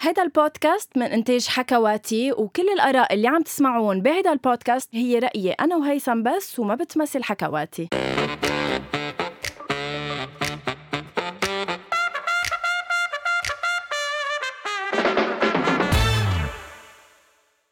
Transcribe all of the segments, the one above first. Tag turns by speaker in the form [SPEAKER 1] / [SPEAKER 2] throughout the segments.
[SPEAKER 1] هيدا البودكاست من إنتاج حكواتي وكل الآراء اللي عم تسمعون بهيدا البودكاست هي رأيي أنا وهيثم بس وما بتمثل حكواتي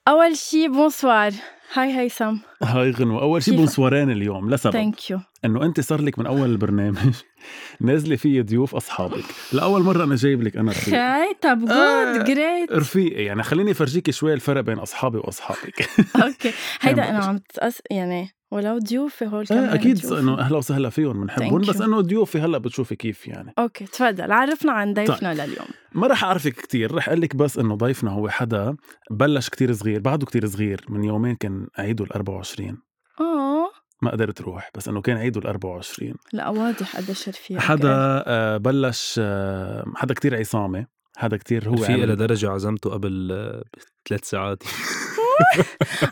[SPEAKER 1] أول شي بونسوار هاي هيثم
[SPEAKER 2] هاي غنوة أول شيء
[SPEAKER 1] كيف-
[SPEAKER 2] بونسوارين اليوم لسبب
[SPEAKER 1] ثانك يو
[SPEAKER 2] إنه أنت صار لك من أول البرنامج نازلة في ضيوف أصحابك لأول مرة أنا جايب لك أنا رفيق
[SPEAKER 1] هاي طب
[SPEAKER 2] آه.
[SPEAKER 1] جود جريت
[SPEAKER 2] رفيقي يعني خليني أفرجيك شوي الفرق بين أصحابي وأصحابك
[SPEAKER 1] اوكي هيدا
[SPEAKER 2] هاي
[SPEAKER 1] انا
[SPEAKER 2] ما-
[SPEAKER 1] عم تأس... يعني ولو ضيوفي هول كمان
[SPEAKER 2] آه، أكيد
[SPEAKER 1] ضيوفي.
[SPEAKER 2] إنه أهلا وسهلا فيهم بنحبهم
[SPEAKER 1] Thank
[SPEAKER 2] بس
[SPEAKER 1] you.
[SPEAKER 2] إنه ضيوفي هلا بتشوفي كيف يعني
[SPEAKER 1] اوكي تفضل عرفنا عن ضيفنا
[SPEAKER 2] طيب.
[SPEAKER 1] لليوم
[SPEAKER 2] ما رح أعرفك كتير رح أقول لك بس إنه ضيفنا هو حدا بلش كتير صغير بعده كتير صغير من يومين كان عيده ال 24
[SPEAKER 1] اه
[SPEAKER 2] ما قدرت روح بس إنه كان عيده ال 24
[SPEAKER 1] لا واضح قديش رفيق
[SPEAKER 2] حدا آه، بلش آه، حدا كتير عصامة حدا كتير هو
[SPEAKER 3] في
[SPEAKER 2] عمل-
[SPEAKER 3] إلى درجة عزمته قبل آه، ثلاث ساعات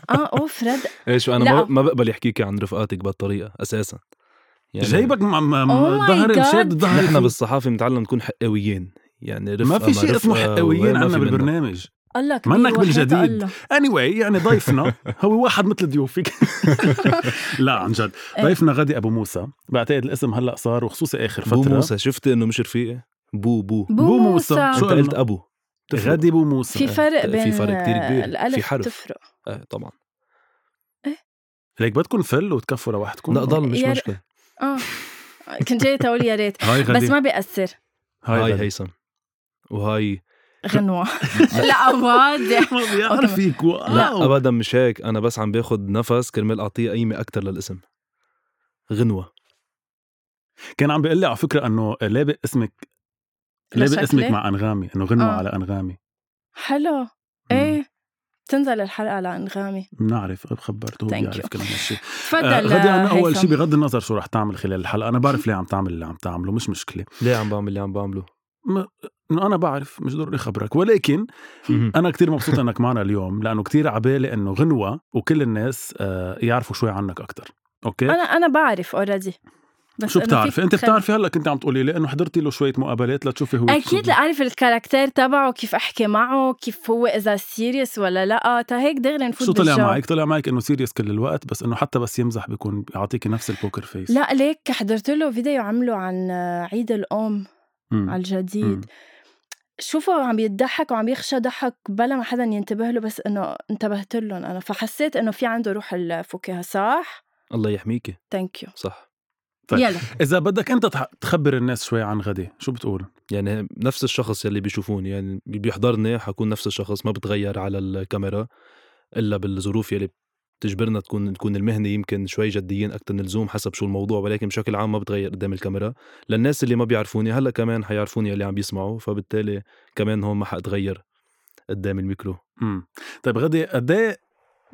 [SPEAKER 1] اه اوه فريد
[SPEAKER 3] ايش انا
[SPEAKER 1] لا.
[SPEAKER 3] ما- ما بقبل يحكيك عن رفقاتك بهالطريقة اساسا
[SPEAKER 2] جايبك م- م-
[SPEAKER 1] Oh my
[SPEAKER 2] ظهر
[SPEAKER 1] God.
[SPEAKER 2] مشاد ظهر
[SPEAKER 3] نحن بالصحافة بنتعلم نكون حقاويين يعني رفقة
[SPEAKER 2] ما في شيء
[SPEAKER 3] رفقة
[SPEAKER 2] اسمه
[SPEAKER 3] وغير
[SPEAKER 2] حقويين
[SPEAKER 3] ما
[SPEAKER 2] عنا
[SPEAKER 3] في منه.
[SPEAKER 2] بالبرنامج
[SPEAKER 1] الله كبير
[SPEAKER 2] منك
[SPEAKER 1] وحياة
[SPEAKER 2] بالجديد.
[SPEAKER 1] الله.
[SPEAKER 2] اني anyway, يعني ضيفنا هو واحد مثل ضيوفك لا عن جد
[SPEAKER 1] إيه.
[SPEAKER 2] ضيفنا غادي ابو موسى بعتقد الاسم هلا صار وخصوصي اخر فتره
[SPEAKER 3] بو موسى شفت انه مش رفيقي إيه؟ بو بو
[SPEAKER 1] بو
[SPEAKER 2] بو
[SPEAKER 1] موسى
[SPEAKER 2] موسى.
[SPEAKER 3] شو
[SPEAKER 2] شو قلنا؟
[SPEAKER 3] قلت ابو تفرق.
[SPEAKER 2] غادي ابو موسى
[SPEAKER 1] في فرق
[SPEAKER 3] في
[SPEAKER 1] بين
[SPEAKER 3] فرق كتير كبير.
[SPEAKER 1] الألف
[SPEAKER 3] في حرف.
[SPEAKER 1] تفرق
[SPEAKER 3] آه طبعا
[SPEAKER 2] ليك بدكم فل وتكفوا لوحدكم
[SPEAKER 3] لا ضل مش
[SPEAKER 1] يا-
[SPEAKER 3] مشكلة
[SPEAKER 1] اه كنت جاي تقول يا ريت
[SPEAKER 2] هاي غادي
[SPEAKER 1] بس ما بيأثر
[SPEAKER 3] هاي
[SPEAKER 2] غادي.
[SPEAKER 3] هيثم وهاي
[SPEAKER 1] غنوة لا واضح
[SPEAKER 2] ما بيعرفك
[SPEAKER 3] لا
[SPEAKER 2] واو
[SPEAKER 3] ابدا مش هيك انا بس عم باخد نفس كرمال اعطيه قيمة اكثر للاسم غنوة
[SPEAKER 2] كان عم بيقول لي على فكره انه لابق اسمك لابق
[SPEAKER 1] لشكلي.
[SPEAKER 2] اسمك مع انغامي انه غنوه
[SPEAKER 1] آه.
[SPEAKER 2] على انغامي
[SPEAKER 1] حلو ايه تنزل الحلقة على أنغامي
[SPEAKER 2] بنعرف خبرته هو
[SPEAKER 1] Thank
[SPEAKER 2] بيعرف
[SPEAKER 1] you.
[SPEAKER 2] كل هالشيء آه،
[SPEAKER 1] تفضل
[SPEAKER 2] غادي عنا اول
[SPEAKER 1] هيثم.
[SPEAKER 2] شيء بغض النظر شو رح تعمل خلال الحلقه انا بعرف ليه عم تعمل اللي عم تعمله مش مشكله
[SPEAKER 3] ليه عم بعمل اللي عم بعمله
[SPEAKER 2] م... انه انا بعرف مش ضروري خبرك ولكن انا كتير مبسوط انك معنا اليوم لانه كتير عبالي انه غنوه وكل الناس آه، يعرفوا شوي عنك اكثر اوكي
[SPEAKER 1] أنا أنا بعرف أوريدي
[SPEAKER 2] شو بتعرفي انت بتعرفي هلا كنت عم تقولي لي انه حضرتي له شويه مقابلات لتشوفي هو شو
[SPEAKER 1] اكيد
[SPEAKER 2] بده.
[SPEAKER 1] لأعرف الكاركتير تبعه كيف احكي معه كيف هو اذا سيريس ولا لا تا هيك دغري نفوت
[SPEAKER 2] شو طلع
[SPEAKER 1] بالجو.
[SPEAKER 2] معك طلع معك انه سيريس كل الوقت بس انه حتى بس يمزح بيكون بيعطيكي نفس البوكر فيس
[SPEAKER 1] لا ليك حضرت له فيديو عمله عن آه، عيد الام
[SPEAKER 2] مم.
[SPEAKER 1] على
[SPEAKER 2] مم.
[SPEAKER 1] الجديد شوفه عم يضحك وعم يخشى ضحك بلا ما حدا ينتبه له بس انه انتبهت لهم انا فحسيت انه في عنده روح الفكاهه صح
[SPEAKER 3] الله يحميكي
[SPEAKER 1] ثانك يو
[SPEAKER 3] صح
[SPEAKER 2] طيب.
[SPEAKER 1] يلا
[SPEAKER 2] إذا بدك أنت تح- تخبر الناس شوي عن غدي شو بتقول؟
[SPEAKER 3] يعني نفس الشخص يلي بيشوفوني يعني بيحضرني حكون نفس الشخص ما بتغير على الكاميرا الا بالظروف يلي بتجبرنا تكون نكون المهنه يمكن شوي جديين اكثر من اللزوم حسب شو الموضوع ولكن بشكل عام ما بتغير قدام الكاميرا للناس اللي ما بيعرفوني هلا كمان حيعرفوني يلي عم بيسمعوا فبالتالي كمان هون ما حاتغير قدام الميكرو
[SPEAKER 2] مم. طيب غدي قد إيه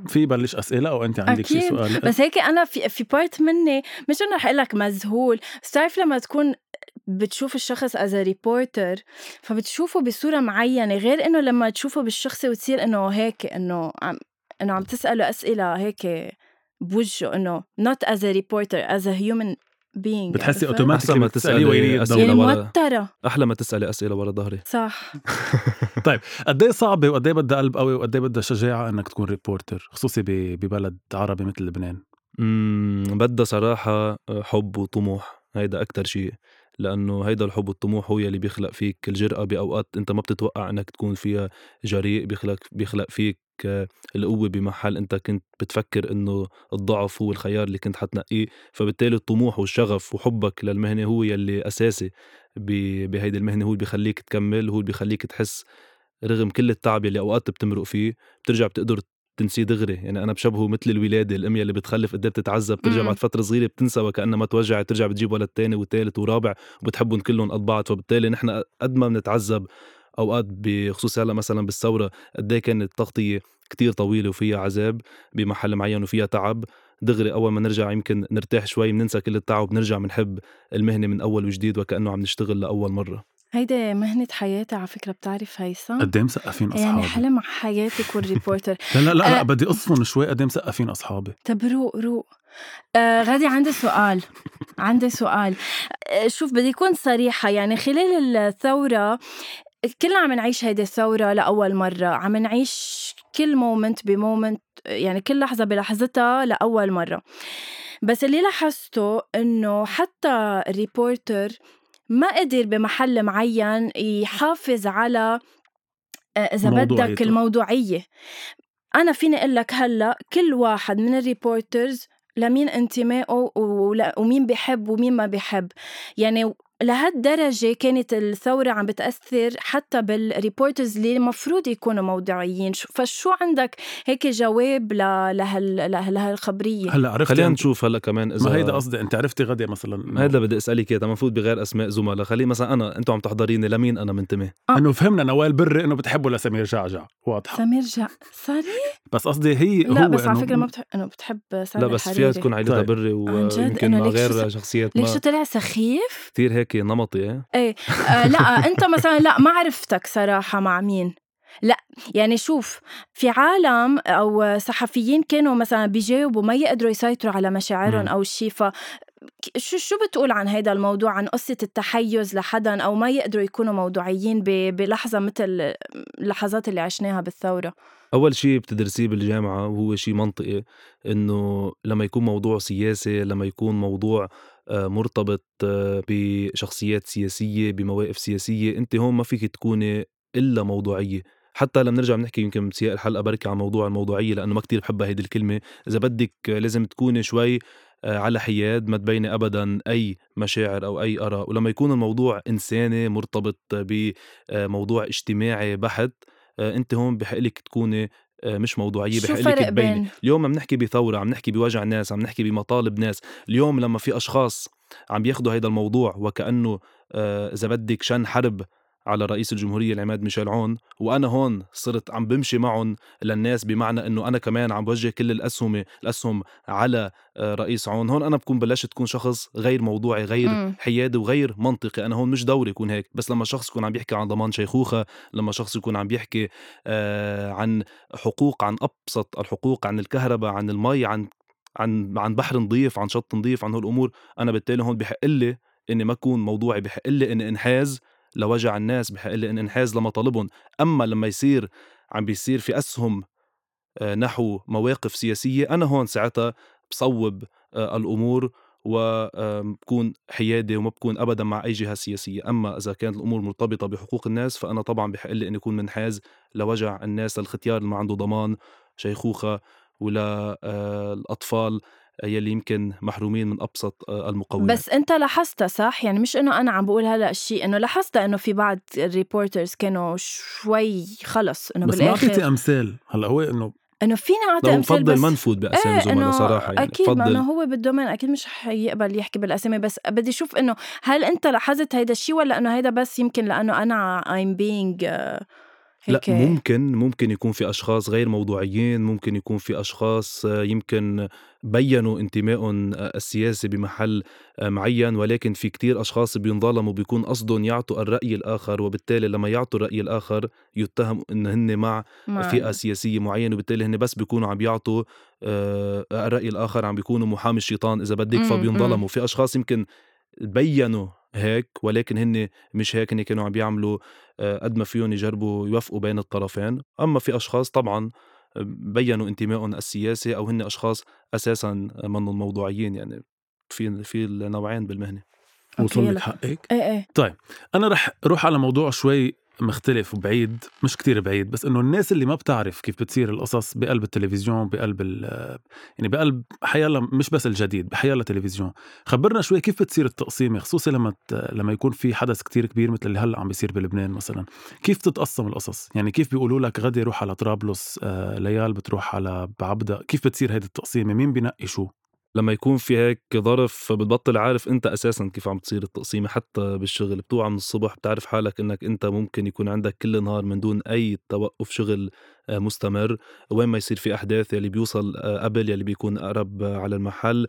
[SPEAKER 2] في بلش أسئلة أو أنت عندك شي
[SPEAKER 1] أكيد،
[SPEAKER 2] سؤال؟
[SPEAKER 1] بس هيك انا في في بارت مني مش انه رح اقول لك مذهول بس بتعرف لما تكون بتشوف الشخص از ريبورتر فبتشوفه بصوره معينه غير انه لما تشوفه بالشخصي وتصير انه هيك انه عم انه عم تساله اسئله هيك بوجهه انه not as a reporter as a human being
[SPEAKER 2] بتحسي
[SPEAKER 1] عرفت؟
[SPEAKER 2] automatic
[SPEAKER 3] أحسن ما
[SPEAKER 2] بتسألي وين
[SPEAKER 3] تسألي أسئلة.
[SPEAKER 1] يعني
[SPEAKER 2] الدولة
[SPEAKER 3] ولا- ولا-
[SPEAKER 1] موتره
[SPEAKER 3] احلى ما تسالي اسئله ورا ظهري
[SPEAKER 1] صح يعني
[SPEAKER 2] قد إيه صعبة وقد إيه بدها قلب قوي وقد إيه بدها شجاعة إنك تكون ريبورتر خصوصي ب- ببلد عربي مثل لبنان
[SPEAKER 3] امم بدها صراحة آه، حب وطموح هيدا أكتر شيء لأنه هيدا الحب والطموح هو يلي بيخلق فيك الجرأة بأوقات أنت ما بتتوقع أنك تكون فيها جريء بيخلق بيخلق فيك آه، القوة بمحل أنت كنت بتفكر إنه الضعف هو الخيار اللي كنت حتنقيه فبالتالي الطموح والشغف وحبك للمهنة هو يلي أساسي ب- بهيدي المهنة هو اللي بيخليك تكمل هو اللي بيخليك تحس رغم كل التعب اللي أوقات بتمرق فيه بترجع بتقدر تنسيه دغري يعني انا بشبهه مثل الولاده الام اللي بتخلف قد إيه بتتعذب بترجع
[SPEAKER 1] مم.
[SPEAKER 3] بعد فتره صغيره بتنسى وكانها ما توجع ترجع بتجيب ولد تاني وثالث ورابع وبتحبهم كلهم قد بعض فبالتالي نحن قد ما بنتعذب اوقات بخصوص هلا مثلا بالثوره قد إيه كانت التغطيه كتير طويله وفيها عذاب بمحل معين وفيها تعب دغري اول ما نرجع يمكن نرتاح شوي بننسى كل التعب بنرجع بنحب المهنه من اول وجديد وكانه عم نشتغل لاول مره
[SPEAKER 1] هيدي مهنه حياتي على فكره بتعرف هيثم
[SPEAKER 2] قد إيه مسقفين أصحابي
[SPEAKER 1] يعني حلم حياتك والريبورتر
[SPEAKER 2] لا لا لا, لا
[SPEAKER 1] أه.
[SPEAKER 2] بدي أصفن شوي قد إيه مسقفين أصحابي
[SPEAKER 1] طب روق روق آه غادي عندي سؤال عندي سؤال آه شوف بدي أكون صريحة يعني خلال الثورة كلنا عم نعيش هيدي الثورة لأول مرة عم نعيش كل مومنت بمومنت يعني كل لحظة بلحظتها لأول مرة بس اللي لاحظته إنه حتى الريبورتر ما قدر بمحل معين يحافظ على آه، إذا بدك
[SPEAKER 2] موضوعيته.
[SPEAKER 1] الموضوعية أنا فيني أقول لك هلأ كل واحد من الريبورترز لمين انتمائه ولا- ومين بحب ومين ما بحب يعني لهالدرجة كانت الثورة عم بتأثر حتى بالريبورترز اللي المفروض يكونوا موضوعيين شو- فشو عندك هيك جواب ل- لهال لهال- لهالخبرية
[SPEAKER 2] هلا عرفت
[SPEAKER 3] خلينا
[SPEAKER 2] خلينا
[SPEAKER 3] نشوف هلا كمان اذا
[SPEAKER 2] يعني ما هيدا قصدي انت عرفتي غدا مثلا
[SPEAKER 3] ما هيدا بدي اسالك اياه المفروض بغير اسماء زملاء خلي مثلا انا انتم عم تحضريني لمين انا منتمي
[SPEAKER 1] آه.
[SPEAKER 2] انه فهمنا نوال بري انه بتحبه لسمير جعجع واضحه
[SPEAKER 1] سمير جا سوري
[SPEAKER 2] بس قصدي هي
[SPEAKER 1] لا
[SPEAKER 2] هو
[SPEAKER 1] بس على
[SPEAKER 2] إنه-
[SPEAKER 1] فكرة ما بتحب انه بتحب سامر
[SPEAKER 3] لا بس فيها
[SPEAKER 1] الحريري.
[SPEAKER 3] تكون عيلتها
[SPEAKER 2] طيب.
[SPEAKER 3] بري
[SPEAKER 1] عن جد؟
[SPEAKER 3] ويمكن
[SPEAKER 1] إنه
[SPEAKER 3] مع
[SPEAKER 1] ليك شو
[SPEAKER 3] غير
[SPEAKER 1] س-
[SPEAKER 3] شخصيات
[SPEAKER 1] ليك
[SPEAKER 3] ما
[SPEAKER 1] شو طلع سخيف؟
[SPEAKER 3] كثير هيك نمطي ايه
[SPEAKER 1] آه لا انت مثلا لا ما عرفتك صراحة مع مين لا يعني شوف في عالم او صحفيين كانوا مثلا بيجاوبوا ما يقدروا يسيطروا على مشاعرهم
[SPEAKER 3] مم.
[SPEAKER 1] او شيء ف ك- شو شو بتقول عن هذا الموضوع عن قصة التحيز لحدا او ما يقدروا يكونوا موضوعيين ب- بلحظة مثل اللحظات اللي عشناها بالثورة
[SPEAKER 3] اول شيء بتدرسيه بالجامعه وهو شيء منطقي انه لما يكون موضوع سياسي لما يكون موضوع آه، مرتبط آه، بشخصيات سياسيه بمواقف سياسيه انت هون ما فيك تكوني الا موضوعيه حتى لما نرجع بنحكي يمكن بسياق الحلقه بركي عن موضوع الموضوعيه لانه ما كتير بحبها هيدي الكلمه اذا بدك آه، لازم تكوني شوي آه، على حياد ما تبيني ابدا اي مشاعر او اي اراء ولما يكون الموضوع انساني مرتبط بموضوع اجتماعي بحت آه، انت هون بحقلك تكوني آه، مش موضوعيه
[SPEAKER 1] شو
[SPEAKER 3] بحقلك
[SPEAKER 1] فرق
[SPEAKER 3] تبيني
[SPEAKER 1] بين
[SPEAKER 3] اليوم عم نحكي بثورة عم نحكي بوجع ناس عم نحكي بمطالب ناس اليوم لما في أشخاص عم بياخدوا هيدا الموضوع وكأنه آه، إذا بدك شن حرب على رئيس الجمهورية العماد ميشيل عون وأنا هون صرت عم بمشي معهم للناس بمعنى أنه أنا كمان عم بوجه كل الأسهم الأسهم على آه، رئيس عون هون أنا بكون بلشت تكون شخص غير موضوعي غير
[SPEAKER 1] مم.
[SPEAKER 3] حيادي وغير منطقي أنا هون مش دوري يكون هيك بس لما شخص يكون عم يحكي عن ضمان شيخوخة لما شخص يكون عم يحكي آه، عن حقوق عن ابسط الحقوق عن الكهرباء عن المي عن عن عن بحر نظيف عن شط نظيف عن هالامور انا بالتالي هون بحق لي اني ما اكون موضوعي بحق لي اني انحاز لوجع الناس بحق لي اني انحاز لمطالبهم اما لما يصير عم بيصير في اسهم آه، نحو مواقف سياسيه انا هون ساعتها بصوب آه، الامور وبكون حيادي وما بكون ابدا مع اي جهه سياسيه، اما اذا كانت الامور مرتبطه بحقوق الناس فانا طبعا بحق لي اني اكون منحاز لوجع الناس للختيار اللي ما عنده ضمان شيخوخه ولا آه، الاطفال يلي يمكن محرومين من ابسط آه، المقومات
[SPEAKER 1] بس انت لاحظتها صح يعني مش انه انا عم بقول هلا شيء انه لاحظتها انه في بعض الريبورترز كانوا شوي خلص انه
[SPEAKER 2] بس ما
[SPEAKER 1] بالاخر
[SPEAKER 2] اعطيتي امثال هلا هو انه
[SPEAKER 1] انه فيني اعطي
[SPEAKER 3] لو
[SPEAKER 1] امثال
[SPEAKER 3] بفضل
[SPEAKER 1] بس
[SPEAKER 3] ما نفوت باسامي
[SPEAKER 1] إيه،
[SPEAKER 3] زملاء
[SPEAKER 1] إنه
[SPEAKER 3] صراحه يعني
[SPEAKER 1] اكيد ما
[SPEAKER 3] بفضل
[SPEAKER 1] انه هو بالدومين اكيد مش حيقبل يحكي بالاسامي بس بدي اشوف انه هل انت لاحظت هيدا الشيء ولا انه هيدا بس يمكن لانه انا I'm being آه،
[SPEAKER 3] لا
[SPEAKER 1] هيك
[SPEAKER 3] ممكن ممكن يكون في اشخاص غير موضوعيين ممكن يكون في اشخاص آه، يمكن بينوا انتمائهم آه، السياسي بمحل آه، معين ولكن في كتير اشخاص بينظلموا بيكون قصدهم يعطوا الراي الاخر وبالتالي لما يعطوا الراي الاخر يتهموا ان هن مع
[SPEAKER 1] مع-
[SPEAKER 3] فئه سياسيه معينه وبالتالي هن بس بيكونوا عم يعطوا آه، الراي الاخر عم بيكونوا محامي الشيطان اذا بدك
[SPEAKER 1] مم،
[SPEAKER 3] فبينظلموا
[SPEAKER 1] مم.
[SPEAKER 3] في اشخاص يمكن بينوا هيك ولكن هن مش هيك هن كانوا عم بيعملوا آه، قد ما فيهم يجربوا يوافقوا بين الطرفين اما في اشخاص طبعا بينوا انتمائهم السياسي او هن اشخاص اساسا منهم موضوعيين يعني في في النوعين بالمهنه
[SPEAKER 1] أوكي،
[SPEAKER 2] وصل
[SPEAKER 1] يلا.
[SPEAKER 2] لك حقك
[SPEAKER 1] ايه ايه
[SPEAKER 2] انا رح اروح على موضوع شوي مختلف وبعيد مش كتير بعيد بس انه الناس اللي ما بتعرف كيف بتصير القصص بقلب التلفزيون بقلب ال يعني بقلب حيالله مش بس الجديد بحيالله التلفزيون خبرنا شوي كيف بتصير التقسيمه خصوصا لما ت- لما يكون في حدث كتير كبير مثل اللي هلا عم بيصير بلبنان مثلا كيف تتقسم القصص يعني كيف بيقولوا لك غدا روح على طرابلس آه، ليال بتروح على بعبدا كيف بتصير هيدي التقسيمه مين بنقي شو
[SPEAKER 3] لما يكون في هيك ظرف بتبطل عارف انت اساسا كيف عم تصير التقسيمه حتى بالشغل بتوعى من الصبح بتعرف حالك انك انت ممكن يكون عندك كل نهار من دون اي توقف شغل آه، مستمر وين ما يصير في احداث يلي بيوصل آه، قبل يلي بيكون اقرب آه، على المحل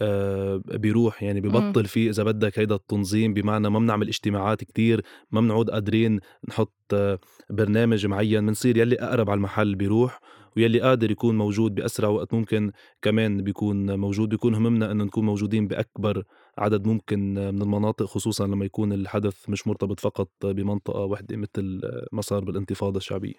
[SPEAKER 3] آه، بيروح يعني ببطل في اذا بدك هيدا التنظيم بمعنى ما بنعمل اجتماعات كتير ما بنعود قادرين نحط آه، برنامج معين بنصير يلي اقرب على المحل بيروح ويلي قادر يكون موجود باسرع وقت ممكن كمان بيكون موجود بيكون هممنا انه نكون موجودين باكبر عدد ممكن من المناطق خصوصا لما يكون الحدث مش مرتبط فقط بمنطقه واحده مثل ما صار بالانتفاضه الشعبيه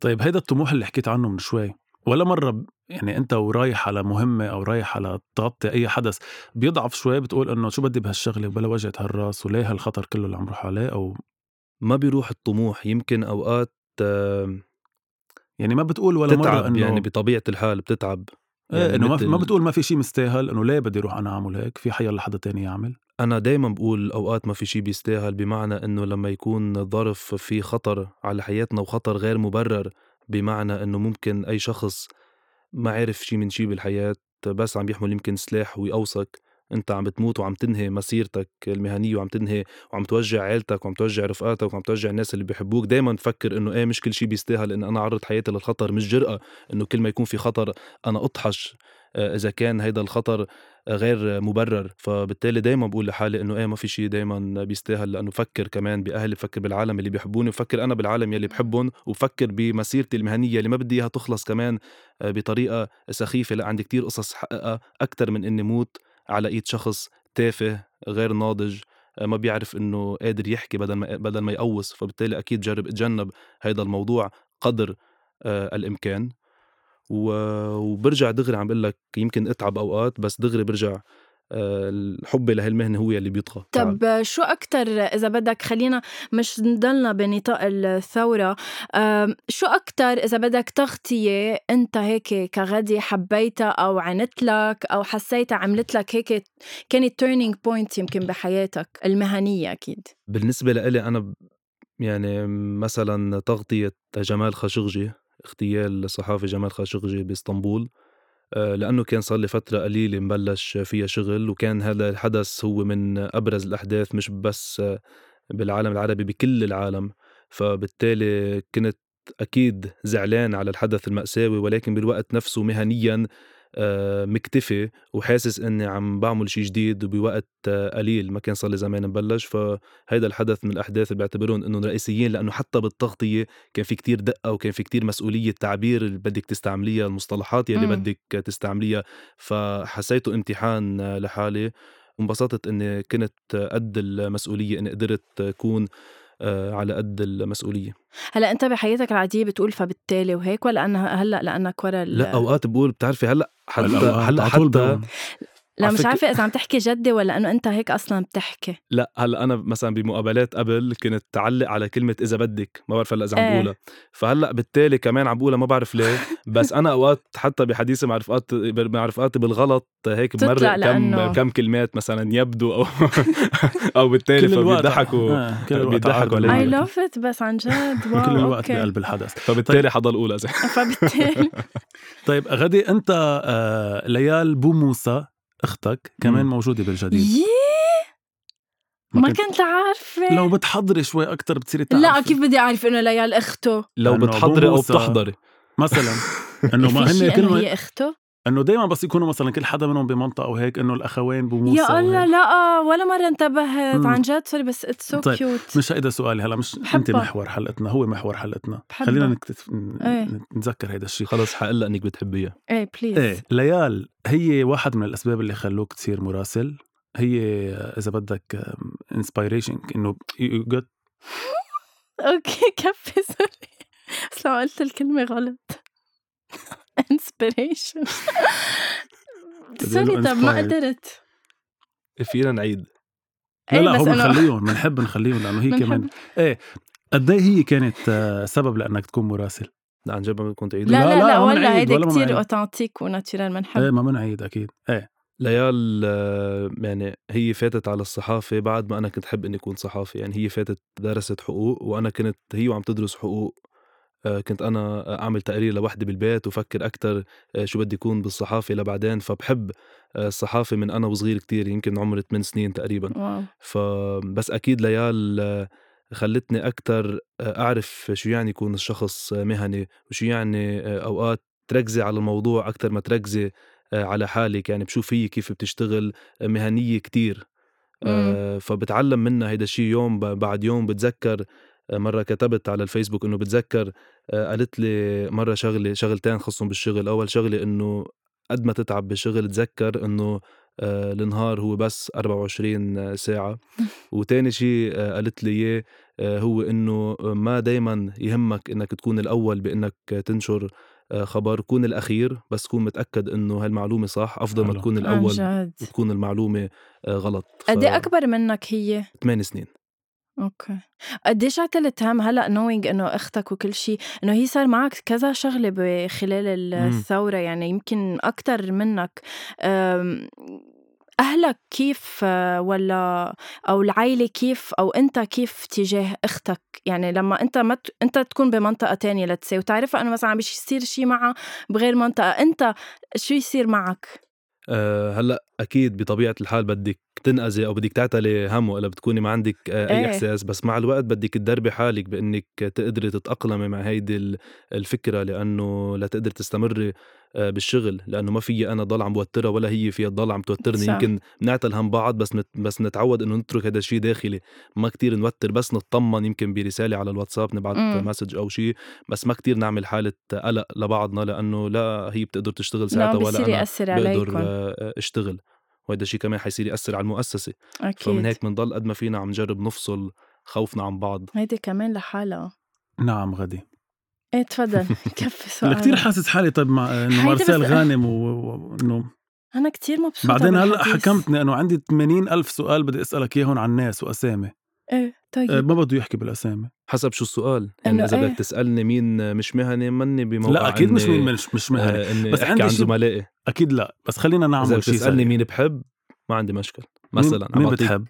[SPEAKER 2] طيب هيدا الطموح اللي حكيت عنه من شوي ولا مرة ب- يعني أنت ورايح على مهمة أو رايح على تغطي أي حدث بيضعف شوي بتقول إنه شو بدي بهالشغلة وبلا وجعة هالراس وليه هالخطر كله اللي عم روح عليه أو
[SPEAKER 3] ما بيروح الطموح يمكن اوقات آه،
[SPEAKER 2] يعني ما بتقول ولا مرة
[SPEAKER 3] بتتعب
[SPEAKER 2] إنه
[SPEAKER 3] يعني بطبيعه الحال بتتعب
[SPEAKER 2] إيه
[SPEAKER 3] يعني
[SPEAKER 2] إنه ما,
[SPEAKER 3] مثل-
[SPEAKER 2] ما بتقول ما في شيء مستاهل إنه ليه بدي أروح أنا أعمل هيك في حيلا حدا تاني يعمل
[SPEAKER 3] أنا دايما بقول أوقات ما في شي بيستاهل بمعنى إنه لما يكون ظرف فيه خطر على حياتنا وخطر غير مبرر بمعنى إنه ممكن أي شخص ما عارف شي من شي بالحياة بس عم يحمل يمكن سلاح ويقوصك أنت عم بتموت وعم تنهي مسيرتك المهنية وعم تنهي وعم توجع عيلتك وعم توجع رفقاتك وعم توجع الناس اللي بيحبوك دايما تفكر إنه إيه مش كل شي بيستاهل إن أنا أعرض حياتي للخطر مش جرأة إنه كل ما يكون في خطر أنا أطحش آه، إذا كان هيدا الخطر غير مبرر فبالتالي دايما بقول لحالي انه ايه ما في شيء دايما بيستاهل لانه بفكر كمان باهلي بفكر بالعالم اللي بيحبوني بفكر انا بالعالم يلي بحبهم وبفكر بمسيرتي المهنيه اللي ما بدي اياها تخلص كمان آه، بطريقه سخيفه لا عندي كتير قصص حققها اكثر من اني موت على ايد شخص تافه غير ناضج آه، ما بيعرف انه قادر يحكي بدل ما بدل ما يقوص فبالتالي اكيد جرب اتجنب هذا الموضوع قدر آه، الامكان و- وبرجع دغري عم بقول لك يمكن اتعب اوقات بس دغري برجع آه، الحب لهالمهنه هو اللي بيطغى تعب.
[SPEAKER 1] طب شو أكتر إذا بدك خلينا مش نضلنا بنطاق الثورة أم، شو أكتر إذا بدك تغطية أنت هيك كغادي حبيتها أو عنت لك أو حسيتها عملت لك هيك كانت تيرنينج بوينت يمكن بحياتك المهنية أكيد
[SPEAKER 3] بالنسبه لإلي انا ب- يعني مثلا تغطيه جمال خاشقجي اغتيال الصحافي جمال خاشقجي باسطنبول آه، لانه كان صار لي فتره قليله مبلش فيها شغل وكان هذا الحدث هو من ابرز الاحداث مش بس آه، بالعالم العربي بكل العالم فبالتالي كنت اكيد زعلان على الحدث المأساوي ولكن بالوقت نفسه مهنيا آه، مكتفي وحاسس اني عم بعمل شيء جديد وبوقت آه، قليل ما كان صار لي زمان مبلش فهيدا الحدث من الاحداث اللي بعتبرهم انهم رئيسيين لانه حتى بالتغطيه كان في كتير دقه وكان في كتير مسؤوليه تعبير اللي بدك تستعمليها المصطلحات يلي
[SPEAKER 1] مم.
[SPEAKER 3] بدك تستعمليها فحسيته امتحان آه، لحالي وانبسطت اني كنت آه، قد المسؤوليه اني قدرت اكون آه، على قد المسؤوليه
[SPEAKER 1] هلا أنت بحياتك العادية بتقول فبالتالي وهيك ولا أنا هلا لأنك ورا ال-
[SPEAKER 3] لا اوقات بقول بتعرفي هلا حتى
[SPEAKER 2] هلا
[SPEAKER 3] هلا
[SPEAKER 2] على طول
[SPEAKER 3] حتى
[SPEAKER 2] بقول.
[SPEAKER 1] لا
[SPEAKER 3] على
[SPEAKER 1] مش
[SPEAKER 3] فكرة-
[SPEAKER 1] عارفة إذا عم تحكي جدي ولا إنه أنت هيك أصلا بتحكي
[SPEAKER 3] لا هلا انا مثلا بمقابلات قبل كنت تعلق على كلمه اذا بدك ما بعرف هلا اذا عم
[SPEAKER 1] إيه.
[SPEAKER 3] بقولها فهلا بالتالي كمان عم بقولها ما بعرف ليه بس انا اوقات حتى بحديثي مع رفقات مع رفقاتي بالغلط هيك
[SPEAKER 1] بتطلع
[SPEAKER 3] بمرق كم
[SPEAKER 1] لأنه-
[SPEAKER 3] كم كلمات مثلا يبدو او او بالتالي فبيضحكوا
[SPEAKER 2] آه، كل الوقت
[SPEAKER 3] بيضحكوا
[SPEAKER 2] عقد
[SPEAKER 3] علي.
[SPEAKER 1] I
[SPEAKER 3] أيوة.
[SPEAKER 1] love it بس عن جد واو
[SPEAKER 2] كل الوقت
[SPEAKER 1] آه، أوكي.
[SPEAKER 2] بقلب الحدث
[SPEAKER 3] فبالتالي حضل اذا
[SPEAKER 1] فبالتالي
[SPEAKER 2] طيب غدي انت آه، ليال بو موسى اختك كمان
[SPEAKER 3] مم.
[SPEAKER 2] موجوده بالجديد
[SPEAKER 1] يي
[SPEAKER 2] ما
[SPEAKER 1] ما
[SPEAKER 2] كنت-
[SPEAKER 1] كنت عارفة
[SPEAKER 2] لو بتحضري شوي اكثر بتصيري
[SPEAKER 1] لا
[SPEAKER 2] تعرفي.
[SPEAKER 1] كيف بدي أعرف إنه ليال أخته
[SPEAKER 3] لو
[SPEAKER 2] لأنه
[SPEAKER 3] بتحضري او
[SPEAKER 2] بوسة-
[SPEAKER 3] بتحضري
[SPEAKER 2] مثلا انه ما
[SPEAKER 1] في شي
[SPEAKER 2] هن
[SPEAKER 1] إنه
[SPEAKER 2] كلمه
[SPEAKER 1] هي أخته
[SPEAKER 2] انه دائما بس يكونوا مثلا كل حدا منهم بمنطقه وهيك انه الاخوين بموسى
[SPEAKER 1] يا الله
[SPEAKER 2] وهيك.
[SPEAKER 1] لا آه، ولا مرة انتبهت
[SPEAKER 2] مم.
[SPEAKER 1] عن جد سوري بس اتس سو
[SPEAKER 2] طيب،
[SPEAKER 1] كيوت
[SPEAKER 2] مش هيدا سؤالي هلا مش
[SPEAKER 1] بحبها.
[SPEAKER 2] انت محور حلقتنا هو محور حلقتنا
[SPEAKER 1] بحبها.
[SPEAKER 2] خلينا نكتف...
[SPEAKER 1] ايه.
[SPEAKER 2] نتذكر هيدا الشيء
[SPEAKER 3] خلص حقلها انك بتحبيها
[SPEAKER 1] ايه بليز
[SPEAKER 2] ايه ليال هي واحد من الاسباب اللي خلوك تصير مراسل هي اذا بدك انسبيريشن انه you got
[SPEAKER 1] اوكي كفي سوري بس لو قلت الكلمة غلط انسبيريشن سوري
[SPEAKER 2] له
[SPEAKER 1] طب ما
[SPEAKER 2] inspired.
[SPEAKER 1] قدرت
[SPEAKER 3] فينا نعيد
[SPEAKER 2] لا
[SPEAKER 1] إيه،
[SPEAKER 2] لا
[SPEAKER 1] بس
[SPEAKER 2] هو
[SPEAKER 1] إنه-
[SPEAKER 2] بنخليهم بنحب نخليهم لانه هي
[SPEAKER 1] منحب.
[SPEAKER 2] كمان ايه قد ايه هي كانت آه، سبب لانك تكون مراسل؟
[SPEAKER 3] عن جد ما كنت عيد
[SPEAKER 1] لا لا لا,
[SPEAKER 2] لا، ما
[SPEAKER 1] ولا
[SPEAKER 2] بنعيد،
[SPEAKER 1] هيدا
[SPEAKER 2] ولا ما
[SPEAKER 1] كتير
[SPEAKER 2] بنعيد.
[SPEAKER 1] اوثنتيك وناتشورال منحب
[SPEAKER 2] ايه ما بنعيد اكيد ايه
[SPEAKER 3] ليال آه، يعني هي فاتت على الصحافة بعد ما أنا كنت حب إني أكون صحافي يعني هي فاتت درست حقوق وأنا كنت هي وعم تدرس حقوق آه، كنت أنا أعمل تقرير لوحدي بالبيت وفكر أكتر آه، شو بدي أكون بالصحافة لبعدين فبحب آه، الصحافة من أنا وصغير كتير يمكن عمري 8 سنين تقريبا
[SPEAKER 1] واو
[SPEAKER 3] فبس أكيد ليال آه، خلتني أكتر آه، أعرف شو يعني يكون الشخص آه، مهني وشو يعني آه، أوقات تركزي على الموضوع أكتر ما تركزي آه، على حالك يعني بشوف هي كيف بتشتغل آه، مهنية كتير آه، فبتعلم منها هيدا الشيء يوم ب- بعد يوم بتذكر آه، مرة كتبت على الفيسبوك انه بتذكر آه، قالت لي مرة شغلة شغلتين خصهم بالشغل اول شغلة انه قد ما تتعب بالشغل تذكر انه آه، النهار هو بس 24 ساعة وتاني شيء آه، قالت لي إياه آه، هو إنه ما دايما يهمك إنك تكون الأول بإنك تنشر آه، خبر كون الأخير بس كون متأكد إنه هالمعلومة صح أفضل ما
[SPEAKER 2] حلو.
[SPEAKER 3] تكون
[SPEAKER 1] عن
[SPEAKER 3] الأول
[SPEAKER 1] جد
[SPEAKER 3] وتكون المعلومة آه، غلط
[SPEAKER 2] طيب.
[SPEAKER 1] قد ايه اكبر منك هي؟
[SPEAKER 3] 8 سنين
[SPEAKER 1] اوكي قديش عتلت هم هلا نوينج انه اختك وكل شيء انه هي صار معك كذا شغله بخلال ال-
[SPEAKER 2] مم.
[SPEAKER 1] الثوره يعني يمكن اكثر منك أم، اهلك كيف آه، ولا او العائله كيف او انت كيف تجاه اختك يعني لما انت ما ت- انت تكون بمنطقه تانية لتسي وتعرفها انه مثلا عم يصير شيء معها بغير منطقه انت شو يصير معك
[SPEAKER 3] أه هلا اكيد بطبيعه الحال بدك تنأذي او بدك تعتلي هم ولا بتكوني ما عندك أه اي
[SPEAKER 1] إيه.
[SPEAKER 3] احساس بس مع الوقت بدك تدربي حالك بانك تقدري تتاقلمي مع هيدي ال- الفكره لانه لتقدري تستمري أه بالشغل لانه ما في انا ضل عم بوترها ولا هي فيها تضل عم توترني
[SPEAKER 1] صح.
[SPEAKER 3] يمكن بنعتل هم بعض بس نت بس نتعود انه نترك هذا الشيء داخلي ما كتير نوتر بس نطمن يمكن برساله على الواتساب نبعث
[SPEAKER 1] مم.
[SPEAKER 3] مسج او شيء بس ما كتير نعمل حاله قلق لبعضنا لانه لا هي بتقدر تشتغل
[SPEAKER 1] لو
[SPEAKER 3] ساعتها ولا
[SPEAKER 1] بصير
[SPEAKER 3] انا
[SPEAKER 1] ياثر
[SPEAKER 3] بقدر
[SPEAKER 1] عليكم
[SPEAKER 3] آه، اشتغل وهذا الشيء كمان حيصير ياثر على المؤسسه فمن
[SPEAKER 1] اكيد
[SPEAKER 3] هيك بنضل قد ما فينا عم نجرب نفصل خوفنا عن بعض
[SPEAKER 1] هيدي كمان لحالها
[SPEAKER 2] نعم غدي
[SPEAKER 1] ايه تفضل كفي سؤال
[SPEAKER 2] هلا كثير حاسس حالي طيب مع انه
[SPEAKER 1] هيدي
[SPEAKER 2] مارسيل
[SPEAKER 1] بس- طيب،
[SPEAKER 2] غانم و- و- وانه
[SPEAKER 1] انا كتير مبسوطه
[SPEAKER 2] بعدين هلا
[SPEAKER 1] بالحديث.
[SPEAKER 2] حكمتني انه عندي 80 الف سؤال بدي اسالك اياهم عن ناس واسامي
[SPEAKER 1] ايه طيب
[SPEAKER 2] أه، ما بده يحكي بالاسامي
[SPEAKER 3] حسب شو السؤال يعني
[SPEAKER 1] إنه
[SPEAKER 3] اذا
[SPEAKER 1] إيه.
[SPEAKER 3] بدك تسالني مين مش مهني مني بموقع
[SPEAKER 2] لا اكيد مش
[SPEAKER 3] إني-
[SPEAKER 2] مين مش مش مهني
[SPEAKER 3] آه، اني
[SPEAKER 2] بس
[SPEAKER 3] بس
[SPEAKER 2] عندي
[SPEAKER 3] احكي عن
[SPEAKER 2] شي-
[SPEAKER 3] زملائي
[SPEAKER 2] اكيد لا بس خلينا
[SPEAKER 3] اذا
[SPEAKER 2] نعمل شيء
[SPEAKER 3] بتسالني
[SPEAKER 2] سريع.
[SPEAKER 3] مين بحب ما عندي مشكل
[SPEAKER 2] مين-
[SPEAKER 3] مثلا عم
[SPEAKER 2] مين
[SPEAKER 3] بعطيك-
[SPEAKER 2] بتحب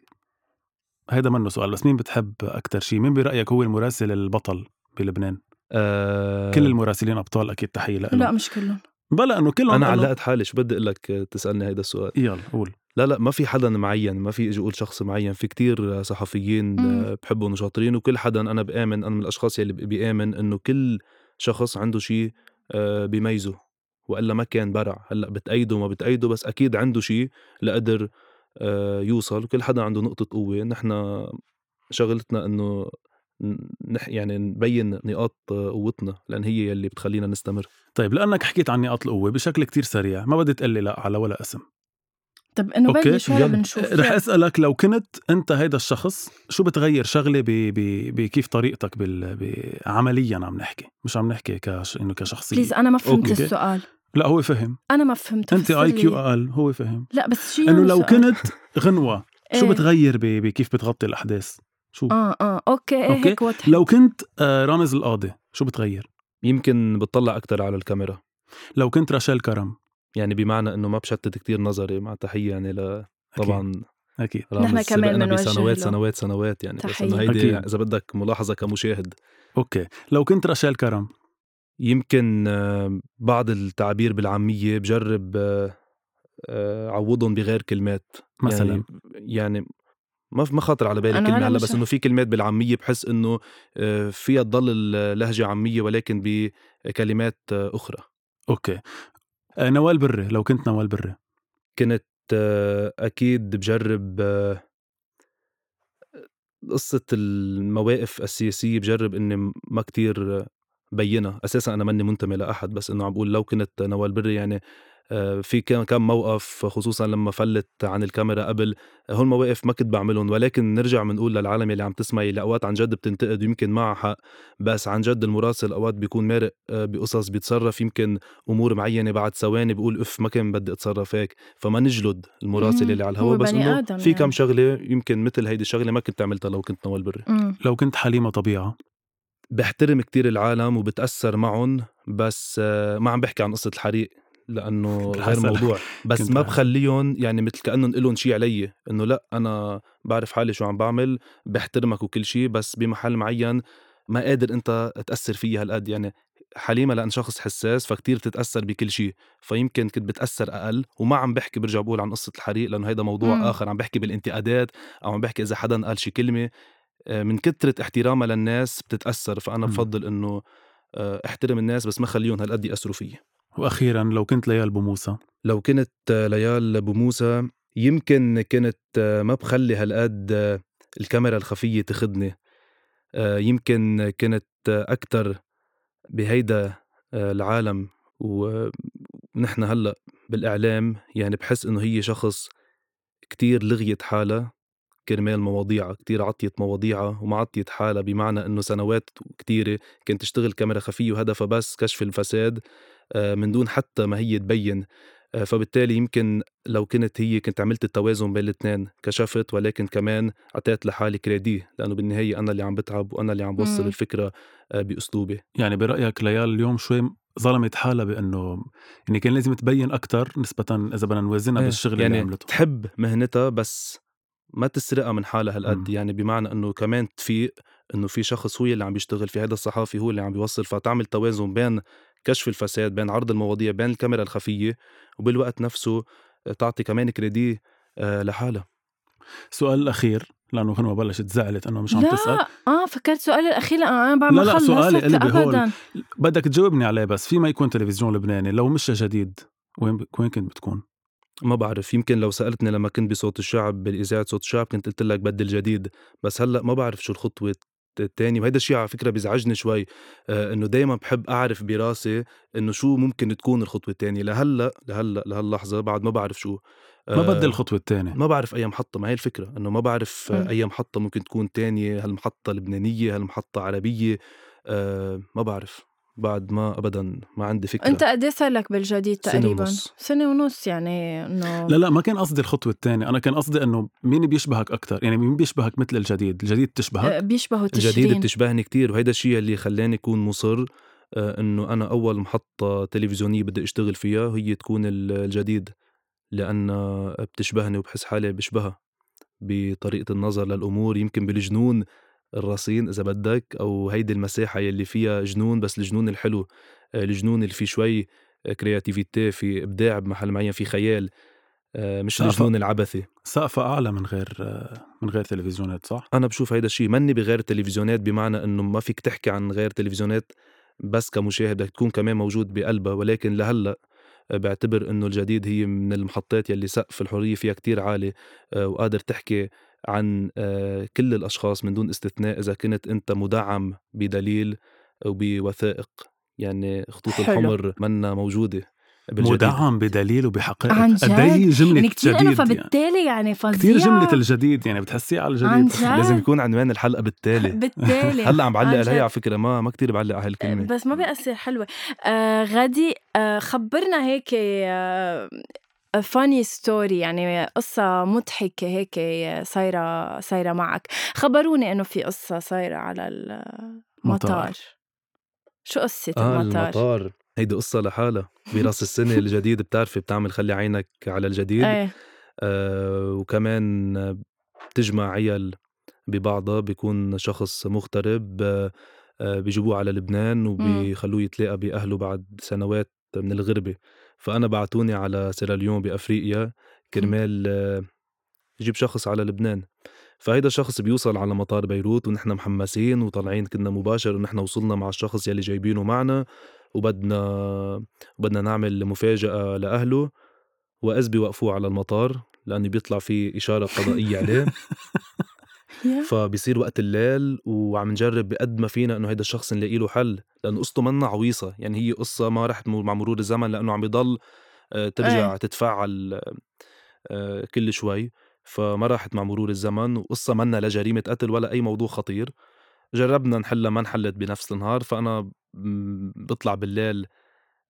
[SPEAKER 2] هيدا منه سؤال بس مين بتحب اكثر شيء مين برايك هو المراسل البطل بلبنان
[SPEAKER 3] آه،
[SPEAKER 2] كل المراسلين ابطال اكيد تحيه
[SPEAKER 1] لا
[SPEAKER 2] لهم
[SPEAKER 1] مش كلهم
[SPEAKER 2] بلا انه كلهم
[SPEAKER 3] انا
[SPEAKER 2] إنه-
[SPEAKER 3] علقت حالي شو بدي اقول لك آه، تسالني هيدا السؤال
[SPEAKER 2] يلا قول
[SPEAKER 3] لا لا ما في حدا معين ما في اجي اقول شخص معين في كتير صحفيين
[SPEAKER 1] مم.
[SPEAKER 3] آه، بحبهم وشاطرين وكل حدا انا بآمن انا من الاشخاص يلي بي- بآمن انه كل شخص عنده شيء آه، بيميزه والا ما كان برع هلا بتأيده وما بتأيده بس اكيد عنده شيء لقدر آه، يوصل كل حدا عنده نقطة قوة نحن شغلتنا انه ن- نح يعني نبين نقاط آه، قوتنا لان هي يلي بتخلينا نستمر
[SPEAKER 2] طيب لانك حكيت عن نقاط القوه بشكل كتير سريع ما بدي تقلي لا على ولا اسم
[SPEAKER 1] طب انه
[SPEAKER 2] أوكي،
[SPEAKER 1] بلش هلا
[SPEAKER 3] يلا.
[SPEAKER 1] بنشوف
[SPEAKER 2] رح
[SPEAKER 1] يلا.
[SPEAKER 2] اسالك لو كنت انت هيدا الشخص شو بتغير شغله ب... ب... بكيف طريقتك بال... ب... عمليا عم نحكي مش عم نحكي كش... انه كشخصيه
[SPEAKER 1] بليز انا ما فهمت
[SPEAKER 2] أوكي.
[SPEAKER 1] السؤال
[SPEAKER 2] لا هو فهم
[SPEAKER 1] انا ما فهمت
[SPEAKER 2] انت
[SPEAKER 1] فسر
[SPEAKER 2] اي
[SPEAKER 1] لي.
[SPEAKER 2] كيو اقل هو فهم
[SPEAKER 1] لا بس شو يعني
[SPEAKER 2] انه آه. لو
[SPEAKER 1] سؤال؟
[SPEAKER 2] كنت غنوه شو
[SPEAKER 1] إيه.
[SPEAKER 2] بتغير ب... بكيف بتغطي الاحداث شو
[SPEAKER 1] اه اه اوكي ايه
[SPEAKER 2] أوكي.
[SPEAKER 1] هيك واضح
[SPEAKER 2] لو كنت آه، رامز القاضي شو بتغير
[SPEAKER 3] يمكن بتطلع اكثر على الكاميرا
[SPEAKER 2] لو كنت راشيل كرم
[SPEAKER 3] يعني بمعنى انه ما بشتت كتير نظري مع تحيه يعني ل
[SPEAKER 2] أكيد.
[SPEAKER 3] طبعا
[SPEAKER 2] اكيد
[SPEAKER 3] رامز
[SPEAKER 1] نحن كمان
[SPEAKER 3] سبقنا
[SPEAKER 1] منوجه
[SPEAKER 3] بسنوات
[SPEAKER 1] له.
[SPEAKER 3] سنوات سنوات يعني بس
[SPEAKER 1] تحية.
[SPEAKER 3] انه هيدي
[SPEAKER 2] أكيد.
[SPEAKER 3] اذا بدك ملاحظه كمشاهد
[SPEAKER 2] اوكي لو كنت راشيل كرم
[SPEAKER 3] يمكن آه، بعض التعبير بالعاميه بجرب آه، آه، عوضهم بغير كلمات
[SPEAKER 2] مثلا
[SPEAKER 3] يعني, يعني ما ما خاطر على بالي
[SPEAKER 1] أنا
[SPEAKER 3] كلمه
[SPEAKER 1] هلا
[SPEAKER 3] هلا
[SPEAKER 1] مش
[SPEAKER 3] بس
[SPEAKER 1] رح-
[SPEAKER 3] انه في كلمات بالعاميه بحس انه آه، فيها تضل اللهجه عاميه ولكن بكلمات آه، اخرى
[SPEAKER 2] اوكي آه، نوال بري لو كنت نوال بري
[SPEAKER 3] كنت آه، اكيد بجرب آه، قصة المواقف السياسية بجرب اني ما كتير بينها اساسا انا ماني منتمي لاحد بس انه عم بقول لو كنت نوال بري يعني آه، في كان كم موقف خصوصا لما فلت عن الكاميرا قبل هول مواقف ما كنت بعملهم ولكن نرجع بنقول للعالم اللي عم تسمع اللي اوقات عن جد بتنتقد ويمكن معها حق بس عن جد المراسل اوقات بيكون مارق آه، بقصص بيتصرف يمكن امور معينه بعد ثواني بقول اف ما كان بدي اتصرف هيك فما نجلد المراسل
[SPEAKER 1] مم،
[SPEAKER 3] اللي على
[SPEAKER 1] هو
[SPEAKER 3] الهواء بس
[SPEAKER 1] بني
[SPEAKER 3] انه
[SPEAKER 1] آدم
[SPEAKER 3] في كم
[SPEAKER 1] يعني.
[SPEAKER 3] شغله يمكن مثل هيدي الشغله ما كنت عملتها لو كنت نوال بري
[SPEAKER 1] أمم.
[SPEAKER 2] لو كنت حليمه طبيعه
[SPEAKER 3] بحترم كتير العالم وبتأثر معهم بس آه، ما عم بحكي عن قصة الحريق لأنه
[SPEAKER 2] كنت
[SPEAKER 3] غير
[SPEAKER 2] حاسألك.
[SPEAKER 3] موضوع بس
[SPEAKER 2] كنت
[SPEAKER 3] ما
[SPEAKER 2] رح-
[SPEAKER 3] بخليهم يعني مثل كأنهم إلهم شيء علي إنه لا أنا بعرف حالي شو عم بعمل بحترمك وكل شيء بس بمحل معين ما قادر أنت تأثر فيي هالقد يعني حليمة لأن شخص حساس فكتير بتتأثر بكل شيء فيمكن كنت بتأثر أقل وما عم بحكي برجع بقول عن قصة الحريق لأنه هيدا موضوع
[SPEAKER 1] مم.
[SPEAKER 3] آخر عم بحكي بالانتقادات أو عم بحكي إذا حدا قال شي كلمة آه، من كثرة احترامها للناس بتتأثر فأنا
[SPEAKER 2] مم.
[SPEAKER 3] بفضل إنه آه، احترم الناس بس ما خليهم هالقد يأثروا فيي
[SPEAKER 2] واخيرا لو كنت ليال بوموسى
[SPEAKER 3] لو كنت آه، ليال بموسى يمكن كنت آه، ما بخلي هالقد آه، الكاميرا الخفية تخدني آه، يمكن آه، كنت أكثر بهيدا آه، العالم و نحن هلا بالاعلام يعني بحس انه هي شخص كتير لغيت حالها كرمال مواضيعها كتير عطيت مواضيعها وما عطيت حالها بمعنى انه سنوات كتيرة كانت تشتغل كاميرا خفية وهدفها بس كشف الفساد آه، من دون حتى ما هي تبين آه، فبالتالي يمكن لو كنت هي كنت عملت التوازن بين الاثنين كشفت ولكن كمان اعطيت لحالي كريدي لانه بالنهايه انا اللي عم بتعب وانا اللي عم بوصل
[SPEAKER 1] مم.
[SPEAKER 3] الفكره آه، باسلوبي
[SPEAKER 2] يعني برايك ليال اليوم شوي ظلمت حالها بانه يعني كان لازم تبين اكث نسبه اذا بدنا نوازنها
[SPEAKER 3] إيه،
[SPEAKER 2] بالشغل
[SPEAKER 3] يعني
[SPEAKER 2] اللي عملته
[SPEAKER 3] تحب مهنتها بس ما تسرقها من حالها هالقد
[SPEAKER 2] مم.
[SPEAKER 3] يعني بمعنى انه كمان تفيق انه في شخص هو اللي عم بيشتغل في هذا الصحافي هو اللي عم بيوصل فتعمل توازن بين كشف الفساد بين عرض المواضيع بين الكاميرا الخفيه وبالوقت نفسه تعطي كمان كريدي آه، لحالها
[SPEAKER 2] سؤال الاخير لانه غنوه بلشت زعلت انه مش عم تسال
[SPEAKER 1] لا اه فكرت سؤالي الاخير لأ، انا بعمل
[SPEAKER 2] لا، لا،
[SPEAKER 1] خلص
[SPEAKER 2] سؤالي قلبي
[SPEAKER 1] ابدا
[SPEAKER 2] بدك تجاوبني عليه بس في ما يكون تلفزيون لبناني لو مش جديد وين ب... وين كنت بتكون؟
[SPEAKER 3] ما بعرف يمكن لو سالتني لما كنت بصوت الشعب بالاذاعه صوت الشعب كنت قلت لك بدي الجديد بس هلا ما بعرف شو الخطوه الثانية وهيدا الشيء على فكرة بيزعجني شوي آه انه دايما بحب اعرف براسي انه شو ممكن تكون الخطوة الثانية لهلا لهلا لهاللحظة بعد ما بعرف شو
[SPEAKER 2] ما
[SPEAKER 3] آه،
[SPEAKER 2] بدي الخطوه الثانيه
[SPEAKER 3] ما بعرف اي محطه ما هي الفكره انه ما بعرف
[SPEAKER 1] مم.
[SPEAKER 2] إمم.
[SPEAKER 3] آه، اي محطه ممكن تكون تانية هل محطه لبنانيه هل محطه عربيه آه ما بعرف بعد ما ابدا ما عندي فكره
[SPEAKER 1] انت قد ايه صار لك بالجديد
[SPEAKER 3] سنة
[SPEAKER 1] تقريبا؟
[SPEAKER 3] ونص.
[SPEAKER 1] سنة ونص يعني انه
[SPEAKER 2] لا لا ما كان قصدي الخطوه الثانيه انا كان قصدي انه مين بيشبهك اكثر يعني مين بيشبهك مثل الجديد الجديد
[SPEAKER 1] آه،
[SPEAKER 2] بتشبهك
[SPEAKER 1] بيشبهوا
[SPEAKER 3] الجديد
[SPEAKER 1] تشرين
[SPEAKER 3] بتشبهني كتير وهيدا الشيء اللي خلاني أكون مصر آه، إنه أنا أول محطة تلفزيونية بدي أشتغل فيها هي تكون ال- الجديد لأن بتشبهني وبحس حالي بشبهها بطريقة النظر للأمور يمكن بالجنون الرصين إذا بدك أو هيدي المساحة يلي فيها جنون بس الجنون الحلو آه، الجنون اللي فيه شوي كرياتيفيتي في إبداع بمحل معين في خيال آه، مش
[SPEAKER 2] سقف-
[SPEAKER 3] الجنون العبثي
[SPEAKER 2] سقفها اعلى من غير آه، من غير تلفزيونات صح؟
[SPEAKER 3] انا بشوف هيدا الشيء مني بغير التلفزيونات بمعنى انه ما فيك تحكي عن غير تلفزيونات بس كمشاهد بدك تكون كمان موجود بقلبها ولكن لهلا بعتبر انه الجديد هي من المحطات يلي سقف الحريه فيها كتير عالي آه، وقادر تحكي عن آه، كل الاشخاص من دون استثناء اذا كنت انت مدعم بدليل وبوثائق يعني خطوط
[SPEAKER 1] حلو.
[SPEAKER 3] الحمر منا موجوده بالجديد
[SPEAKER 2] مدعم بدليل وبحقائق
[SPEAKER 1] عن
[SPEAKER 2] قد إيه هي
[SPEAKER 1] جد؟
[SPEAKER 2] جمله
[SPEAKER 1] يعني كثير انه
[SPEAKER 2] جديد يعني.
[SPEAKER 1] فبالتالي يعني فظيعة
[SPEAKER 2] كثير جمله الجديد يعني بتحسيها على
[SPEAKER 1] عن
[SPEAKER 2] الجديد
[SPEAKER 1] جد؟
[SPEAKER 3] لازم يكون عنوان الحلقه بالتالي
[SPEAKER 1] بالتالي
[SPEAKER 3] هلا عم بعلق
[SPEAKER 1] عن
[SPEAKER 3] عليها
[SPEAKER 1] جد.
[SPEAKER 3] على فكره ما ما كثير بعلق على هالكلمه
[SPEAKER 1] بس ما بيأثر حلوة آه غادي آه خبرنا هيك آه فاني ستوري يعني قصة مضحكة هيك صايرة صايرة معك خبروني إنه في قصة صايرة على المطار
[SPEAKER 2] مطار.
[SPEAKER 1] شو قصة
[SPEAKER 3] آه
[SPEAKER 1] المطار؟
[SPEAKER 3] المطار هيدي قصة لحالها براس السنة الجديد بتعرفي بتعمل خلي عينك على الجديد
[SPEAKER 1] ايه
[SPEAKER 3] آه وكمان آه، بتجمع عيال ببعضها بيكون شخص مغترب آه آه، بيجيبوه على لبنان وبيخلوه يتلاقى بأهله بعد سنوات من الغربة فأنا بعتوني على سيراليون بأفريقيا كرمال آه، جيب شخص على لبنان فهيدا الشخص بيوصل على مطار بيروت ونحن محمسين وطالعين كنا مباشر ونحن وصلنا مع الشخص يلي جايبينه معنا وبدنا بدنا نعمل مفاجأة لأهله وإذ بيوقفوه على المطار لأنه بيطلع في إشارة قضائية عليه
[SPEAKER 1] يا.
[SPEAKER 3] فبصير وقت الليل وعم نجرب بقد ما فينا انه هيدا الشخص نلاقي له حل لانه قصته منا عويصه يعني هي قصه ما رح تمر مع مرور الزمن لانه عم يضل آه، ترجع
[SPEAKER 1] إيه.
[SPEAKER 3] تتفاعل آه، آه، كل شوي فما راحت مع مرور الزمن وقصه منا لا جريمه قتل ولا اي موضوع خطير جربنا نحلها ما انحلت بنفس النهار فانا م- بطلع بالليل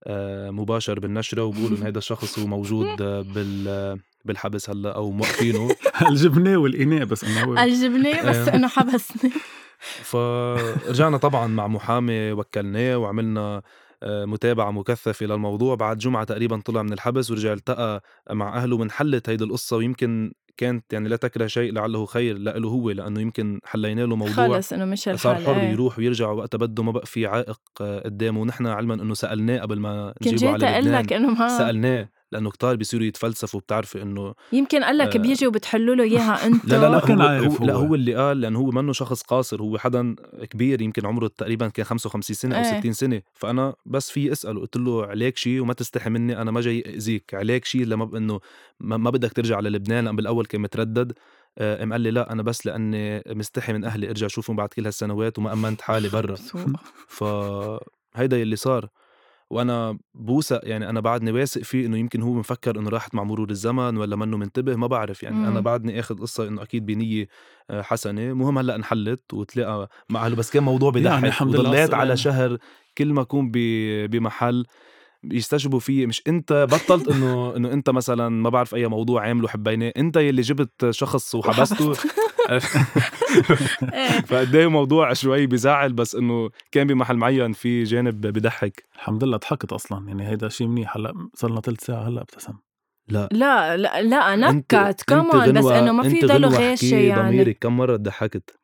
[SPEAKER 3] آه، مباشر بالنشره وبقول انه هيدا الشخص هو موجود آه، بال آه، بالحبس هلا او موقفينه
[SPEAKER 2] الجبنه والاناء بس انه هو
[SPEAKER 1] الجبنة بس
[SPEAKER 3] إيه.
[SPEAKER 1] إنه حبسني
[SPEAKER 3] فرجعنا طبعا مع محامي وكلناه وعملنا آه، متابعة مكثفة للموضوع بعد جمعة تقريبا طلع من الحبس ورجع التقى مع أهله وانحلت هيدي القصة ويمكن كانت يعني لا تكره شيء لعله خير لإله هو لأنه يمكن حلينا له موضوع
[SPEAKER 1] خلص إنه مش
[SPEAKER 3] صار
[SPEAKER 1] الحال
[SPEAKER 3] حر
[SPEAKER 1] إيه.
[SPEAKER 3] يروح ويرجع وقت بده ما بقى في عائق آه، قدامه ونحن علما انه سالناه قبل ما
[SPEAKER 1] كنت
[SPEAKER 3] نجيبه
[SPEAKER 1] جيت
[SPEAKER 3] على
[SPEAKER 1] أقول لك
[SPEAKER 3] لبنان
[SPEAKER 1] إنه ما
[SPEAKER 3] سالناه لانه كتار بيصيروا يتفلسفوا بتعرفي انه
[SPEAKER 1] يمكن قال لك
[SPEAKER 3] آه.
[SPEAKER 1] بيجي وبتحلوا له إياها أنتم
[SPEAKER 3] لا لا لا
[SPEAKER 2] ما كان
[SPEAKER 3] هو,
[SPEAKER 2] عارف
[SPEAKER 3] هو لا
[SPEAKER 2] هو.
[SPEAKER 3] هو اللي قال لانه هو منه شخص قاصر هو حدا كبير يمكن عمره تقريبا كان 55 سنه او
[SPEAKER 1] إيه.
[SPEAKER 3] 60 سنه فانا بس في اساله قلت له عليك شيء وما تستحي مني انا ما جاي اذيك عليك شيء لما ب- انه ما ما بدك ترجع على لبنان لان بالاول كان متردد آه، قام قال لي لا انا بس لاني مستحي من اهلي ارجع اشوفهم بعد كل هالسنوات وما امنت حالي برا
[SPEAKER 1] سوء.
[SPEAKER 3] فهيدا يلي صار وانا بوثق يعني انا بعدني واثق فيه انه يمكن هو مفكر انه راحت مع مرور الزمن ولا منه منتبه ما بعرف يعني
[SPEAKER 1] مم.
[SPEAKER 2] امم.
[SPEAKER 3] انا بعدني اخذ قصه انه اكيد بنيه آه، حسنه مهم هلا انحلت وتلاقى مع اهله بس كان موضوع
[SPEAKER 2] يعني
[SPEAKER 3] بضحك
[SPEAKER 2] الحمد لله
[SPEAKER 3] وضليت
[SPEAKER 2] السلام.
[SPEAKER 3] على شهر كل ما اكون ب- بمحل يستجبوا فيي مش انت بطلت انه انه انت مثلا ما بعرف اي موضوع عامله حبيناه انت يلي جبت شخص وحبسته
[SPEAKER 1] إيه.
[SPEAKER 3] فقد ايه موضوع شوي بزعل بس انه كان بمحل معين في جانب بضحك
[SPEAKER 2] الحمد لله ضحكت اصلا يعني هيدا شيء منيح هلا صار لنا ثلث ساعه هلا ابتسم
[SPEAKER 3] لا
[SPEAKER 1] لا لا لا
[SPEAKER 3] أنت-
[SPEAKER 1] نكت
[SPEAKER 3] أنت
[SPEAKER 1] كمان بس
[SPEAKER 3] غنوة-
[SPEAKER 1] انه ما في
[SPEAKER 3] أنت
[SPEAKER 1] ضلوا
[SPEAKER 3] غنوة
[SPEAKER 1] غيشه
[SPEAKER 3] احكي
[SPEAKER 1] يعني
[SPEAKER 3] ضميرك كم مره ضحكت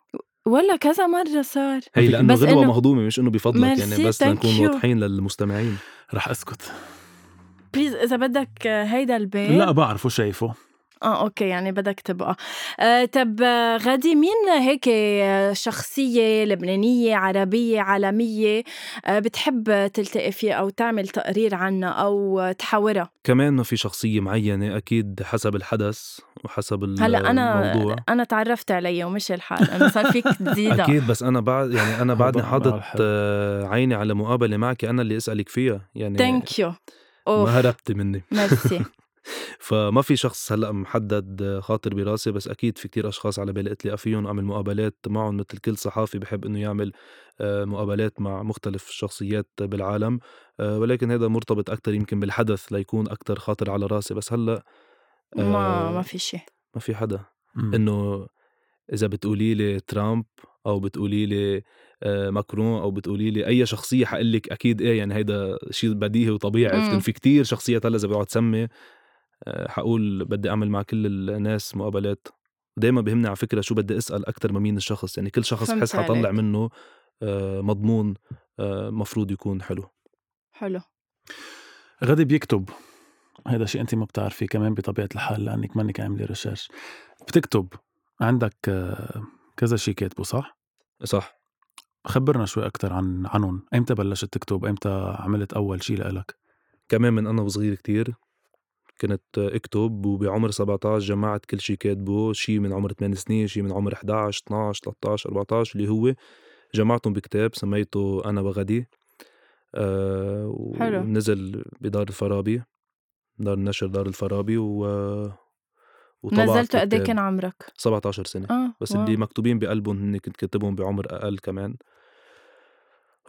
[SPEAKER 1] ولا كذا مره صار
[SPEAKER 3] هي لانه
[SPEAKER 1] بس
[SPEAKER 3] غنوه
[SPEAKER 1] إنه-
[SPEAKER 3] مهضومه مش انه بفضلك يعني
[SPEAKER 1] ميرسي،
[SPEAKER 3] بس
[SPEAKER 1] thank
[SPEAKER 3] لنكون
[SPEAKER 1] you.
[SPEAKER 3] واضحين للمستمعين
[SPEAKER 2] رح اسكت
[SPEAKER 1] بليز اذا بدك آه، هيدا البيت
[SPEAKER 2] لا بعرفه شايفه
[SPEAKER 1] اه اوكي يعني بدك تبقى آه، طب آه، غادي مين هيك آه، شخصية لبنانية عربية عالمية آه، بتحب تلتقي فيها أو تعمل تقرير عنها أو آه، تحاورها
[SPEAKER 3] كمان ما في شخصيه معينه اكيد حسب الحدث وحسب ال-
[SPEAKER 1] هلا أنا
[SPEAKER 3] الموضوع
[SPEAKER 1] أنا تعرفت عليه ومشي الحال أنا صار فيك تزيدها
[SPEAKER 3] اكيد بس انا بعد يعني انا بعدني
[SPEAKER 2] بعد- بعد
[SPEAKER 3] حاطط
[SPEAKER 2] الحلقة.
[SPEAKER 3] آه، عيني على مقابله معك انا اللي اسالك فيها يعني
[SPEAKER 1] ثانك يو
[SPEAKER 3] ما
[SPEAKER 1] اوف
[SPEAKER 3] هربتي مني
[SPEAKER 1] ميرسي
[SPEAKER 3] فما في شخص هلا محدد خاطر براسي بس اكيد في كتير اشخاص على بالي اتلاقى فيهم اعمل مقابلات معهم مثل كل صحافي بحب انه يعمل آه، مقابلات مع مختلف الشخصيات بالعالم آه، ولكن هذا مرتبط اكثر يمكن بالحدث ليكون اكثر خاطر على راسي بس هلا آه،
[SPEAKER 1] ما ما في شيء
[SPEAKER 3] ما في حدا
[SPEAKER 2] مم.
[SPEAKER 1] إمم.
[SPEAKER 3] انه اذا بتقولي لي ترامب او بتقولي لي آه، ماكرون او بتقولي لي اي شخصيه حقول لك اكيد ايه يعني هيدا شيء بديهي وطبيعي
[SPEAKER 1] مم.
[SPEAKER 3] عرفت إنه في كتير شخصيات هلا اذا بقعد سمي آه، حقول بدي اعمل مع كل الناس مقابلات دائما بهمني على فكره شو بدي اسال اكثر ما مين الشخص يعني كل شخص
[SPEAKER 1] فهمت
[SPEAKER 3] بحس حطلع
[SPEAKER 1] عليك.
[SPEAKER 3] منه آه، مضمون آه، مفروض يكون حلو
[SPEAKER 1] حلو
[SPEAKER 2] غادي بيكتب هذا شيء انت ما بتعرفيه كمان بطبيعه الحال لانك مانك عامله ريسيرش بتكتب عندك آه، كذا شيء كاتبه صح؟
[SPEAKER 3] صح
[SPEAKER 2] خبرنا شوي اكثر عن عنهم ايمتى بلشت تكتب امتى عملت اول شيء لإلك
[SPEAKER 3] كمان من انا وصغير كتير كنت اكتب وبعمر 17 جمعت كل شيء كاتبه شيء من عمر 8 سنين شيء من عمر 11 12 13 14 اللي هو جمعتهم بكتاب سميته انا وغدي آه
[SPEAKER 1] حلو.
[SPEAKER 3] ونزل بدار الفارابي دار النشر دار الفارابي و وطبعت
[SPEAKER 1] نزلته قد إيه
[SPEAKER 3] كتاب.
[SPEAKER 1] كان عمرك
[SPEAKER 3] 17 سنه
[SPEAKER 1] اه
[SPEAKER 3] بس
[SPEAKER 1] واو.
[SPEAKER 3] اللي مكتوبين بقلبهم هن كنت كاتبهم بعمر اقل كمان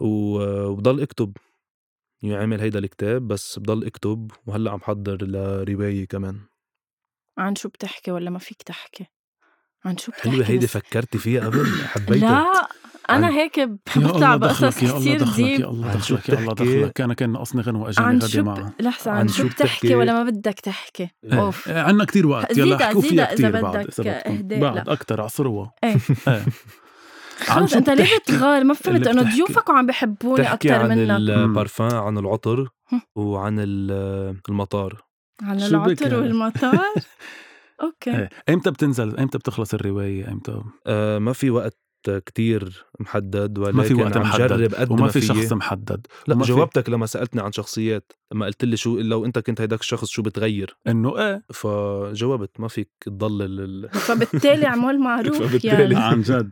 [SPEAKER 3] و- وبضل اكتب يعني عامل هيدا الكتاب بس بضل اكتب وهلا عم حضر لروايه كمان
[SPEAKER 1] عن شو بتحكي ولا ما فيك تحكي عن شو بتحكي
[SPEAKER 3] حلوه هيدي
[SPEAKER 1] بس؟
[SPEAKER 3] فكرتي فيها قبل حبيتها
[SPEAKER 1] لا انا
[SPEAKER 3] عن-
[SPEAKER 1] هيك بطلع بقصص
[SPEAKER 2] يا الله
[SPEAKER 1] كثير
[SPEAKER 2] دخلك يا
[SPEAKER 1] ديب
[SPEAKER 2] الله
[SPEAKER 3] عن شو
[SPEAKER 2] دخلك يا الله
[SPEAKER 3] بتحكي؟
[SPEAKER 2] دخلك انا كان ناقصني غنوه اجاني
[SPEAKER 1] عن
[SPEAKER 2] غادي
[SPEAKER 1] شو بت-
[SPEAKER 2] معها
[SPEAKER 1] لحظة
[SPEAKER 3] عن
[SPEAKER 1] عن
[SPEAKER 3] شو
[SPEAKER 1] شو
[SPEAKER 3] بتحكي؟
[SPEAKER 1] بتحكي ولا ما بدك تحكي اوف
[SPEAKER 2] إيه، عنا كتير وقت يلا
[SPEAKER 1] زيدا-
[SPEAKER 2] احكوا
[SPEAKER 1] زيدا
[SPEAKER 2] فيها
[SPEAKER 1] إذا
[SPEAKER 2] كتير
[SPEAKER 1] بدك
[SPEAKER 2] بعد إذا بدكم.
[SPEAKER 1] إهداء،
[SPEAKER 2] بعد
[SPEAKER 1] لا.
[SPEAKER 2] اكثر عصروا
[SPEAKER 1] إيه.
[SPEAKER 2] عن
[SPEAKER 1] خلص
[SPEAKER 2] شو
[SPEAKER 1] انت ليه
[SPEAKER 2] بتحكي؟
[SPEAKER 1] بتغار ما فهمت
[SPEAKER 2] اللي
[SPEAKER 1] انه
[SPEAKER 2] بتحكي.
[SPEAKER 1] ضيوفك وعم بحبوني
[SPEAKER 3] بتحكي
[SPEAKER 1] اكثر
[SPEAKER 3] عن
[SPEAKER 1] منك
[SPEAKER 3] البارفان عن العطر
[SPEAKER 1] هم.
[SPEAKER 3] وعن ال- المطار
[SPEAKER 1] عن
[SPEAKER 2] شو بك
[SPEAKER 1] العطر
[SPEAKER 2] هلا؟
[SPEAKER 1] والمطار اوكي
[SPEAKER 2] إيه. امتى بتنزل امتى بتخلص الروايه امتى
[SPEAKER 3] آه ما في وقت كتير محدد ولكن
[SPEAKER 2] ما في وقت
[SPEAKER 3] عم جرب
[SPEAKER 2] محدد
[SPEAKER 3] قد
[SPEAKER 2] وما في
[SPEAKER 3] فيي.
[SPEAKER 2] شخص محدد
[SPEAKER 3] لا
[SPEAKER 2] وما في-
[SPEAKER 3] جاوبتك لما سالتني عن شخصيات لما قلت لي شو لو انت كنت هيداك الشخص شو بتغير
[SPEAKER 2] انه ايه
[SPEAKER 3] فجاوبت ما فيك تضل ال-
[SPEAKER 1] فبالتالي عمول معروف
[SPEAKER 3] فبالتالي.
[SPEAKER 1] يعني
[SPEAKER 2] عن جد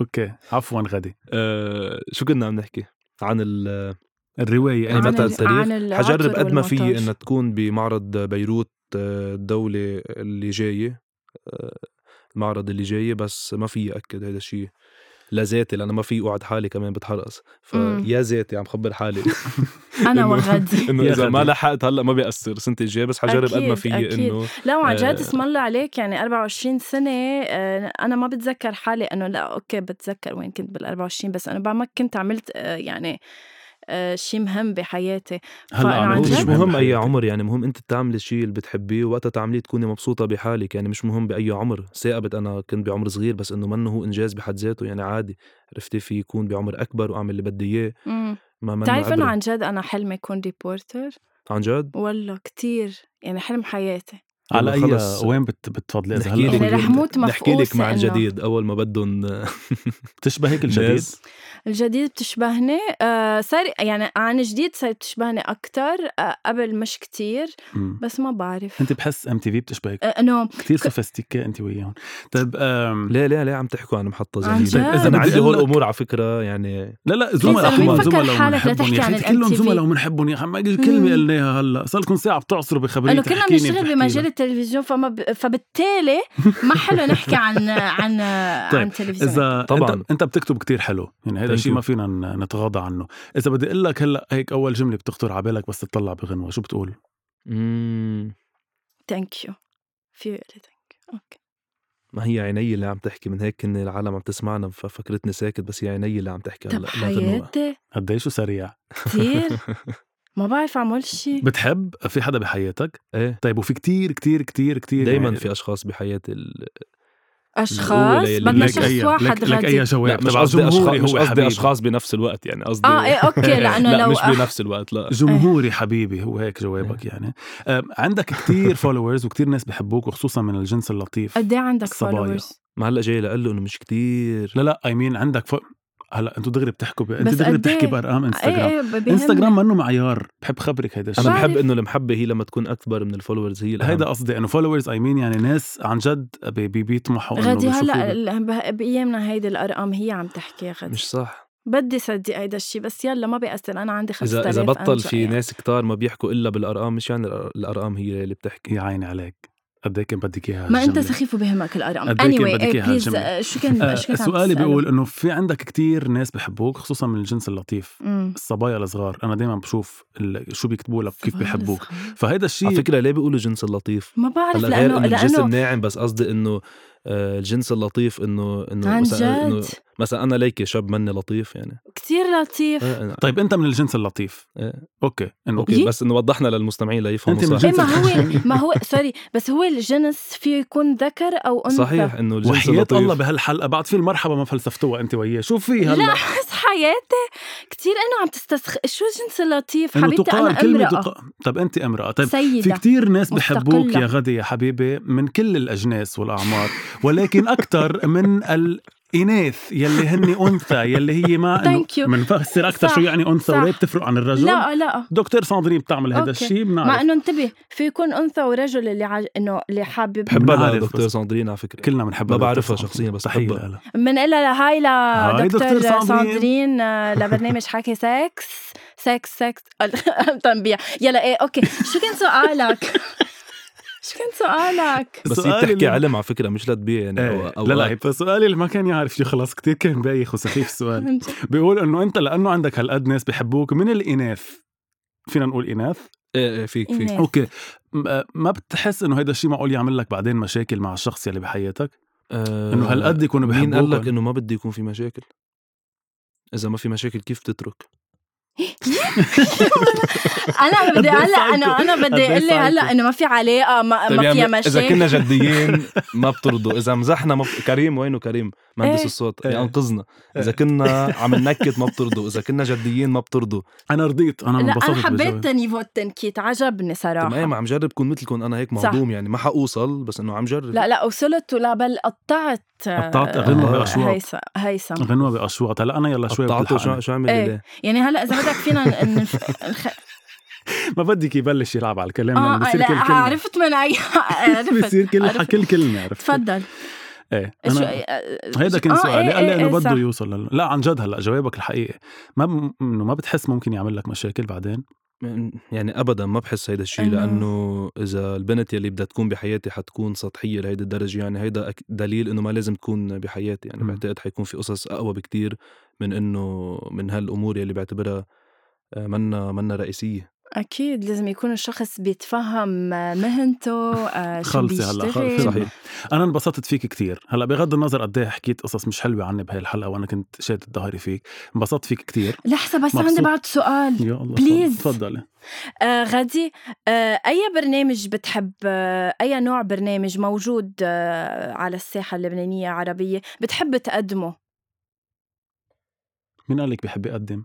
[SPEAKER 2] اوكي عفوا غادي
[SPEAKER 3] آه، شو كنا عم نحكي عن ال
[SPEAKER 2] الروايه
[SPEAKER 3] يعني
[SPEAKER 2] أيمتى
[SPEAKER 1] عن
[SPEAKER 3] متى
[SPEAKER 1] ال- عن
[SPEAKER 3] التاريخ
[SPEAKER 1] العطر
[SPEAKER 3] حجرب قد ما
[SPEAKER 1] والمطر.
[SPEAKER 3] في انها تكون بمعرض بيروت آه، الدولة اللي جاية آه، المعرض اللي جاي بس ما في اكد هذا الشيء لذاتي لانه ما في اقعد حالي كمان بتحرقص
[SPEAKER 1] مم.
[SPEAKER 3] فيا ذاتي عم خبر حالي
[SPEAKER 1] انا
[SPEAKER 3] إنه-
[SPEAKER 1] وغدي
[SPEAKER 3] انه
[SPEAKER 2] يا
[SPEAKER 3] اذا ما
[SPEAKER 2] غدي.
[SPEAKER 3] لحقت هلا ما بيأثر السنه الجايه بس حجرب قد ما
[SPEAKER 1] أكيد،
[SPEAKER 3] في
[SPEAKER 1] أكيد.
[SPEAKER 3] انه
[SPEAKER 1] لا وعن جد
[SPEAKER 3] آه.
[SPEAKER 1] اسم الله عليك يعني 24 سنة آه، أنا ما بتذكر حالي أنه لا أوكي بتذكر وين كنت بال 24 بس أنا بعد ما كنت عملت آه، يعني شيء مهم بحياتي
[SPEAKER 2] هلا
[SPEAKER 1] فأنا عن
[SPEAKER 3] هو
[SPEAKER 2] عملت
[SPEAKER 1] جد؟
[SPEAKER 3] مش
[SPEAKER 2] شي
[SPEAKER 3] مهم اي
[SPEAKER 2] بحياتك.
[SPEAKER 3] عمر يعني مهم انت تعملي الشيء اللي بتحبيه وقتها تعمليه تكوني مبسوطه بحالك يعني مش مهم باي عمر ثاقبت انا كنت بعمر صغير بس انه منه هو انجاز بحد ذاته يعني عادي عرفتي في يكون بعمر اكبر واعمل اللي بدي اياه
[SPEAKER 1] مم.
[SPEAKER 3] ما منه
[SPEAKER 1] بتعرف أنه
[SPEAKER 3] عبرة.
[SPEAKER 1] عن جد أنا حلمي أكون ريبورتر
[SPEAKER 3] عن جد
[SPEAKER 1] والله كتير يعني حلم حياتي
[SPEAKER 2] على
[SPEAKER 3] والله
[SPEAKER 2] اي
[SPEAKER 3] خلص.
[SPEAKER 2] وين بت... بتفضلي اذا
[SPEAKER 3] نحكي
[SPEAKER 2] هلا
[SPEAKER 3] لك
[SPEAKER 1] يعني رح
[SPEAKER 2] بال-
[SPEAKER 1] موت
[SPEAKER 3] نحكي لك
[SPEAKER 1] مفقوسة
[SPEAKER 3] مع
[SPEAKER 1] إنه-
[SPEAKER 3] الجديد اول ما بدهم
[SPEAKER 2] بتشبهك الجديد
[SPEAKER 3] ناس.
[SPEAKER 1] الجديد بتشبهني آه صار يعني عن جديد صارت بتشبهني أكتر آه قبل مش كتير
[SPEAKER 2] مم.
[SPEAKER 1] بس ما بعرف
[SPEAKER 2] انت بحس ام تي في بتشبهك
[SPEAKER 1] آه، انه
[SPEAKER 2] كثير سوفيستيكي انت وياهم طيب آم...
[SPEAKER 3] ليه ليه ليه عم تحكوا عن محطه
[SPEAKER 1] عن
[SPEAKER 3] زي هي؟
[SPEAKER 1] جد.
[SPEAKER 3] اذا
[SPEAKER 2] بدي
[SPEAKER 3] عندي
[SPEAKER 2] أقول لك-
[SPEAKER 3] هالامور على فكره يعني
[SPEAKER 2] لا لا
[SPEAKER 1] بليز،
[SPEAKER 2] زملاء
[SPEAKER 1] أنا
[SPEAKER 2] كلهم
[SPEAKER 1] مين فكر
[SPEAKER 2] زملاء
[SPEAKER 1] حالك
[SPEAKER 2] ومنحبهم
[SPEAKER 1] لتحكي
[SPEAKER 2] يا
[SPEAKER 1] عن
[SPEAKER 2] اخي كلهم
[SPEAKER 1] MTV
[SPEAKER 2] زملاء ومنحبهم يا اخي ما كلمه
[SPEAKER 1] مم.
[SPEAKER 2] قلناها هلا صار لكم ساعه بتعصروا بخبرية
[SPEAKER 1] انه كلنا
[SPEAKER 2] تحكيني
[SPEAKER 1] بنشتغل
[SPEAKER 2] بتحكيني.
[SPEAKER 1] بمجال التلفزيون فما ب... فبالتالي ما حلو نحكي عن عن
[SPEAKER 2] طيب،
[SPEAKER 1] عن تلفزيون
[SPEAKER 2] اذا
[SPEAKER 3] طبعاً.
[SPEAKER 2] انت, انت بتكتب كتير حلو يعني هذا
[SPEAKER 3] Thank
[SPEAKER 2] الشيء
[SPEAKER 3] you.
[SPEAKER 2] ما فينا ن- نتغاضى عنه اذا بدي اقول لك هلا هيك اول جمله بتخطر على بالك بس تطلع بغنوه شو بتقول
[SPEAKER 3] مم،
[SPEAKER 1] ثانك يو في إيه؟ ثانك اوكي
[SPEAKER 3] ما هي عيني اللي عم تحكي من هيك ان العالم عم تسمعنا ففكرتني ساكت بس هي عيني اللي عم تحكي
[SPEAKER 1] طب
[SPEAKER 3] هلا لا تنوع.
[SPEAKER 1] حياتي
[SPEAKER 2] قد شو سريع
[SPEAKER 1] كثير ما بعرف اعمل شيء
[SPEAKER 2] بتحب في حدا بحياتك
[SPEAKER 3] ايه
[SPEAKER 2] طيب وفي كتير كتير كتير كتير
[SPEAKER 3] دايما
[SPEAKER 2] يعني-
[SPEAKER 3] في اشخاص بحياتي ال-
[SPEAKER 1] اشخاص
[SPEAKER 3] الأولى
[SPEAKER 1] بدنا
[SPEAKER 3] يلي-
[SPEAKER 2] لك
[SPEAKER 1] شخص
[SPEAKER 2] أي
[SPEAKER 1] واحد
[SPEAKER 2] لك, لك
[SPEAKER 1] غادي
[SPEAKER 2] اي جواب
[SPEAKER 3] لا مش
[SPEAKER 2] تبع
[SPEAKER 3] قصدي اشخاص
[SPEAKER 2] جمهوري
[SPEAKER 3] مش
[SPEAKER 2] هو
[SPEAKER 3] قصدي
[SPEAKER 2] حبيبي
[SPEAKER 3] اشخاص بنفس الوقت يعني قصدي
[SPEAKER 1] اه ايه اوكي لانه
[SPEAKER 3] لا
[SPEAKER 1] لو
[SPEAKER 3] مش
[SPEAKER 1] أح-
[SPEAKER 3] بنفس الوقت لا
[SPEAKER 1] إيه.
[SPEAKER 2] جمهوري حبيبي هو هيك جوابك يعني آه، عندك كتير فولورز وكتير ناس بحبوك وخصوصا من الجنس اللطيف
[SPEAKER 1] قد ايه عندك
[SPEAKER 2] الصبايا.
[SPEAKER 1] فولورز
[SPEAKER 3] ما هلا جاي لاقول له انه مش كتير
[SPEAKER 2] لا لا اي مين عندك ف... هلا انتوا دغري بتحكوا ب... انت
[SPEAKER 1] بس
[SPEAKER 2] دغري
[SPEAKER 1] قد
[SPEAKER 2] بتحكي
[SPEAKER 1] إيه؟
[SPEAKER 2] بارقام
[SPEAKER 1] ايه
[SPEAKER 2] انستغرام
[SPEAKER 1] ايه ب- بيهمني.
[SPEAKER 2] انستغرام منه معيار بحب خبرك هيدا الشيء
[SPEAKER 3] انا
[SPEAKER 1] بعرف.
[SPEAKER 3] بحب انه المحبه هي لما تكون اكبر من الفولورز هي الأهم.
[SPEAKER 2] هيدا قصدي انه فولورز اي مين يعني ناس عن جد بي- بي- بيطمحوا انه
[SPEAKER 1] غادي هلا
[SPEAKER 2] بيشوفوا-
[SPEAKER 1] ال- ب- بايامنا هيدي الارقام هي عم تحكي غادي
[SPEAKER 3] مش صح
[SPEAKER 1] بدي صدق هيدا الشيء بس يلا ما بيأثر انا عندي 5000
[SPEAKER 3] اذا اذا بطل
[SPEAKER 1] أنجا
[SPEAKER 3] في
[SPEAKER 1] يعني.
[SPEAKER 3] ناس كتار ما بيحكوا الا بالارقام مش يعني الأر- الارقام هي اللي بتحكي
[SPEAKER 2] يا عيني عليك قد ايه كان بدك اياها
[SPEAKER 1] ما انت
[SPEAKER 2] هالجملة.
[SPEAKER 1] سخيف وبهمك الارقام
[SPEAKER 2] قد إيه كان
[SPEAKER 1] anyway
[SPEAKER 2] بدك
[SPEAKER 1] ايه
[SPEAKER 2] إياها
[SPEAKER 1] بليز
[SPEAKER 2] هالجملة؟
[SPEAKER 1] آه، شو كان
[SPEAKER 2] آه،
[SPEAKER 1] شو كنت عم
[SPEAKER 2] سؤالي
[SPEAKER 1] تسأله؟
[SPEAKER 2] بيقول انه في عندك كتير ناس بحبوك خصوصا من الجنس اللطيف
[SPEAKER 1] أمم.
[SPEAKER 2] الصبايا الصغار انا دايما بشوف ال- شو بيكتبوا لك كيف بيحبوك فهيدا
[SPEAKER 3] على
[SPEAKER 2] الشيء
[SPEAKER 3] فكره ليه بيقولوا جنس اللطيف
[SPEAKER 1] ما بعرف
[SPEAKER 3] هلا غير
[SPEAKER 1] لانه
[SPEAKER 3] انه الجسم
[SPEAKER 1] لانه
[SPEAKER 3] ناعم بس قصدي انه آه، الجنس اللطيف انه انه
[SPEAKER 1] عن
[SPEAKER 3] مثلا انه
[SPEAKER 1] جد
[SPEAKER 3] مثلا انا ليكي شاب مني لطيف يعني
[SPEAKER 1] كثير لطيف
[SPEAKER 3] آه، أنا-
[SPEAKER 2] طيب انت من الجنس اللطيف
[SPEAKER 3] إيه.
[SPEAKER 2] اوكي انه
[SPEAKER 3] اوكي
[SPEAKER 1] يي.
[SPEAKER 3] بس انه وضحنا للمستمعين ليفهموا
[SPEAKER 2] أنت من
[SPEAKER 3] صح
[SPEAKER 1] ايه
[SPEAKER 2] جنس
[SPEAKER 1] ما هو ما هو سوري بس هو الجنس فيه يكون ذكر او انثى
[SPEAKER 3] صحيح انه الجنس
[SPEAKER 2] وحياة
[SPEAKER 3] اللطيف
[SPEAKER 2] الله بهالحلقه بعد في المرحبا ما فلسفتوها انت وياه شو في إيه، هلا
[SPEAKER 1] لا بس حياتي كثير انه عم تستسخ شو الجنس اللطيف
[SPEAKER 2] انه
[SPEAKER 1] حبيبتي
[SPEAKER 2] تقال
[SPEAKER 1] انا
[SPEAKER 2] كلمه
[SPEAKER 1] امراه
[SPEAKER 2] تقال طب انت امراه طيب في
[SPEAKER 1] سيده
[SPEAKER 2] كتير ناس بحبوك
[SPEAKER 1] مستقلة.
[SPEAKER 2] يا غدي يا حبيبي من كل الأجناس والأعمار ولكن أكتر من الإناث يلي هن أنثى يلي هي ما إنه-
[SPEAKER 1] Thank you.
[SPEAKER 2] منفسر أكتر
[SPEAKER 1] صح،
[SPEAKER 2] شو يعني أنثى
[SPEAKER 1] صح.
[SPEAKER 2] وليه بتفرق عن الرجل
[SPEAKER 1] لا لا
[SPEAKER 2] دكتور ساندرين بتعمل هذا
[SPEAKER 1] أوكي.
[SPEAKER 2] الشيء
[SPEAKER 1] مع
[SPEAKER 2] بنعرف
[SPEAKER 1] انه انتبه في يكون انثى ورجل اللي عج... انه اللي حابب
[SPEAKER 3] بحبها
[SPEAKER 2] بنعرف
[SPEAKER 3] دكتور
[SPEAKER 2] بس.
[SPEAKER 3] ساندرين على فكره
[SPEAKER 2] كلنا بنحبها
[SPEAKER 3] ما
[SPEAKER 2] دكتور
[SPEAKER 3] بعرفها
[SPEAKER 2] ساندرين.
[SPEAKER 3] شخصياً بس
[SPEAKER 2] تحية
[SPEAKER 3] بحبها.
[SPEAKER 2] لها.
[SPEAKER 1] بنقلها لهاي
[SPEAKER 2] هاي
[SPEAKER 1] لدكتور
[SPEAKER 2] دكتور ساندرين.
[SPEAKER 1] ساندرين آه، لبرنامج حكي سكس سكس سكس تنبيع يلا ايه اوكي شو كان سؤالك؟ شو كان سؤالك؟
[SPEAKER 3] بس هي
[SPEAKER 2] سؤالي
[SPEAKER 3] بتحكي
[SPEAKER 2] اللي-
[SPEAKER 3] علم على فكره مش لتبيع يعني
[SPEAKER 2] إيه. لا لا فسؤالي اللي ما كان يعرف شيء خلاص كتير كان بايخ وسخيف السؤال بيقول انه انت لانه عندك هالقد ناس بحبوك من الاناث فينا نقول اناث
[SPEAKER 3] إيه، إيه، فيك فيك
[SPEAKER 1] إيه.
[SPEAKER 2] اوكي م- آه، ما بتحس انه هيدا الشيء معقول يعمل لك بعدين مشاكل مع الشخص يلي بحياتك
[SPEAKER 3] آه،
[SPEAKER 2] انه هالقد يكونوا
[SPEAKER 3] مين
[SPEAKER 2] بحبوك
[SPEAKER 3] قال لك انه ما بدي يكون في مشاكل؟ إذا ما في مشاكل كيف تترك؟
[SPEAKER 1] انا بدي
[SPEAKER 2] قد إيه
[SPEAKER 1] هلا انا
[SPEAKER 2] ساعدكم؟
[SPEAKER 1] انا
[SPEAKER 2] قد
[SPEAKER 1] بدي
[SPEAKER 2] إيه
[SPEAKER 1] اقول لي هلا
[SPEAKER 2] ساعدكم؟
[SPEAKER 1] انه ما في علاقه ما,
[SPEAKER 3] طيب
[SPEAKER 1] ما فيها
[SPEAKER 3] يعني اذا كنا
[SPEAKER 1] مشاكل
[SPEAKER 3] جديين ما بترضوا اذا مزحنا ما بت- كريم وينه كريم مهندس
[SPEAKER 1] إيه.
[SPEAKER 3] الصوت
[SPEAKER 2] إيه.
[SPEAKER 3] ينقذنا اذا يعني كنا عم ننكت ما بترضوا اذا كنا جديين ما بترضوا
[SPEAKER 2] انا رضيت انا
[SPEAKER 1] لا انا
[SPEAKER 2] انبسطت
[SPEAKER 1] حبيت
[SPEAKER 2] بالجواب.
[SPEAKER 1] نيفو التنكيت عجبني
[SPEAKER 3] طب ايه
[SPEAKER 1] صراحه
[SPEAKER 3] ما عم جرب كون مثلكم انا هيك
[SPEAKER 1] صح.
[SPEAKER 3] مهضوم يعني ما حوصل بس انه عم جرب
[SPEAKER 1] لا لا وصلت ولا بل قطعت آه،
[SPEAKER 2] قطعت غنوة
[SPEAKER 1] آه،
[SPEAKER 2] بأشواط.
[SPEAKER 1] هيثم هيثم
[SPEAKER 2] غنوة بأشواط هلا انا يلا شوي
[SPEAKER 3] قطعته شو
[SPEAKER 2] بتلحقني.
[SPEAKER 3] شو عمل
[SPEAKER 1] إيه.
[SPEAKER 3] ليه؟
[SPEAKER 1] يعني هلا اذا بدك فينا ن- نف- نخ...
[SPEAKER 2] ما بدك يبلش يلعب على الكلام
[SPEAKER 1] اه
[SPEAKER 2] لأنه
[SPEAKER 1] آه،
[SPEAKER 2] بصير
[SPEAKER 1] لا
[SPEAKER 2] كل كلمه
[SPEAKER 1] عرفت من اي عرفت
[SPEAKER 2] بصير كل
[SPEAKER 1] عرفت.
[SPEAKER 2] حكي الكلمه عرفت
[SPEAKER 1] تفضل
[SPEAKER 2] ايه
[SPEAKER 1] شو-
[SPEAKER 2] انا
[SPEAKER 1] آه،
[SPEAKER 2] هيدا كان
[SPEAKER 1] آه،
[SPEAKER 2] سؤالي
[SPEAKER 1] إيه،
[SPEAKER 2] قال لي
[SPEAKER 1] إيه،
[SPEAKER 2] انه
[SPEAKER 1] إيه،
[SPEAKER 2] بده
[SPEAKER 1] صح.
[SPEAKER 2] يوصل لل... لا عن جد هلا جوابك الحقيقي ما ب... انه ما بتحس ممكن يعمل لك مشاكل بعدين
[SPEAKER 3] يعني ابدا ما بحس هيدا الشيء
[SPEAKER 1] إنه-
[SPEAKER 3] لانه اذا البنت يلي بدها تكون بحياتي حتكون سطحيه لهيدي الدرجه يعني هيدا أك- دليل انه ما لازم تكون بحياتي يعني
[SPEAKER 2] مم.
[SPEAKER 3] بعتقد حيكون في قصص اقوى بكتير من انه من هالامور يلي بعتبرها آه، منا منا رئيسيه
[SPEAKER 1] اكيد لازم يكون الشخص بيتفهم آه، مهنته آه، شو
[SPEAKER 2] خلصي هلا
[SPEAKER 1] بيشتغل
[SPEAKER 2] خلصي
[SPEAKER 3] صحيح.
[SPEAKER 2] صحيح انا انبسطت فيك كتير هلا بغض النظر قد ايه حكيت قصص مش حلوه عني بهي الحلقه وانا كنت شادد ظهري فيك انبسطت فيك كتير
[SPEAKER 1] لحظه بس عندي
[SPEAKER 2] مبسوط.
[SPEAKER 1] بعد سؤال
[SPEAKER 2] يا الله
[SPEAKER 1] Please.
[SPEAKER 2] تفضلي
[SPEAKER 1] آه غادي آه أي برنامج بتحب آه أي نوع برنامج موجود آه على الساحة اللبنانية العربية بتحب تقدمه
[SPEAKER 2] مين قال لك بحب يقدم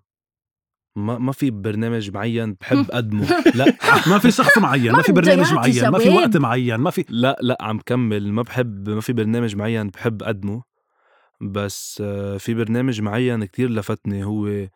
[SPEAKER 3] ما ما في برنامج معين بحب اقدمه لا
[SPEAKER 2] ما في شخص معين ما في برنامج
[SPEAKER 1] متضايقات يا
[SPEAKER 2] معين ما في وقت
[SPEAKER 1] شباب.
[SPEAKER 2] معين ما في
[SPEAKER 3] لا لا عم كمل ما بحب ما في برنامج معين بحب اقدمه بس آه، في برنامج معين كتير لفتني هو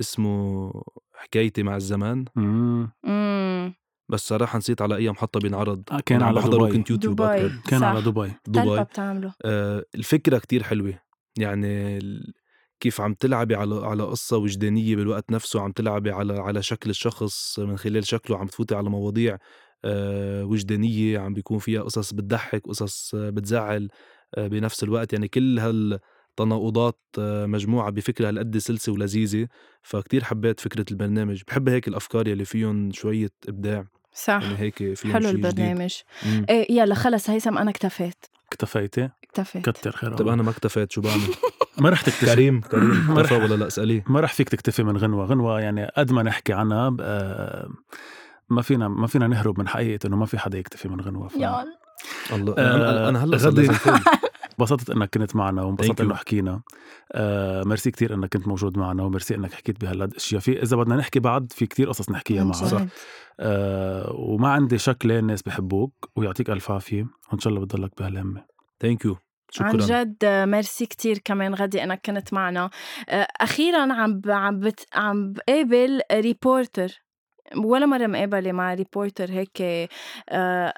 [SPEAKER 3] اسمه حكايتي مع الزمان
[SPEAKER 2] مم.
[SPEAKER 1] مم.
[SPEAKER 3] بس صراحة نسيت على اي محطة بينعرض
[SPEAKER 2] آه، كان
[SPEAKER 3] أنا عم
[SPEAKER 2] على
[SPEAKER 3] بحضره
[SPEAKER 2] دبي
[SPEAKER 3] كنت يوتيوب
[SPEAKER 1] دبي.
[SPEAKER 3] أكتر.
[SPEAKER 2] كان
[SPEAKER 1] صح.
[SPEAKER 2] على دبي
[SPEAKER 1] تلبى
[SPEAKER 3] دبي
[SPEAKER 1] بتعمله
[SPEAKER 3] آه، الفكرة كتير حلوة يعني ال- كيف عم تلعبي على على قصة وجدانية بالوقت نفسه عم تلعبي على على شكل الشخص من خلال شكله عم تفوتي على مواضيع آه، وجدانية عم بيكون فيها قصص بتضحك قصص آه، بتزعل آه، بنفس الوقت يعني كل هالتناقضات آه، مجموعة بفكرة هالقد سلسة ولذيذة فكتير حبيت فكرة البرنامج بحب هيك الأفكار يلي فيهم شوية إبداع
[SPEAKER 1] صح
[SPEAKER 3] يعني هيك فيهم
[SPEAKER 1] حلو
[SPEAKER 3] شي جديد.
[SPEAKER 1] البرنامج
[SPEAKER 3] مم.
[SPEAKER 1] ايه يلا خلص هيثم انا اكتفيت إيه.
[SPEAKER 2] اكتفيتي
[SPEAKER 1] اكتفيت
[SPEAKER 2] كتر خير
[SPEAKER 3] طب
[SPEAKER 2] الله.
[SPEAKER 3] أنا ما اكتفيت شو بعمل
[SPEAKER 2] ما رح تكتفي
[SPEAKER 3] كريم كريم
[SPEAKER 2] مرحبا.
[SPEAKER 3] اختفى ولا لا اساليه
[SPEAKER 2] ما رح فيك تكتفي من غنوة غنوة يعني قد ما نحكي عنها آه، ما فينا ما فينا نهرب من حقيقة انه ما في حدا يكتفي من غنوة ف...
[SPEAKER 1] يلا
[SPEAKER 3] الله
[SPEAKER 2] آه،
[SPEAKER 3] انا انا هلا صار
[SPEAKER 2] غدي.
[SPEAKER 3] لازم فوت.
[SPEAKER 2] انبسطت انك كنت معنا وانبسطت
[SPEAKER 3] Thank you.
[SPEAKER 2] انه حكينا آه ميرسي كثير انك كنت موجود معنا وميرسي انك حكيت بهالاشياء في اذا بدنا نحكي بعد في كثير قصص نحكيها
[SPEAKER 1] عن
[SPEAKER 2] معك
[SPEAKER 1] جد.
[SPEAKER 2] آه وما عندي شك ليه الناس بحبوك ويعطيك الف عافيه وان شاء الله بتضلك بهالهمه
[SPEAKER 1] يعني
[SPEAKER 3] ثانك يو شكرا
[SPEAKER 1] عن جد آه، ميرسي كتير كمان غدي انك كنت معنا آه، اخيرا عم ب- عم بت عم بقابل ريبورتر ولا مره مقابله مع ريبورتر هيك آه،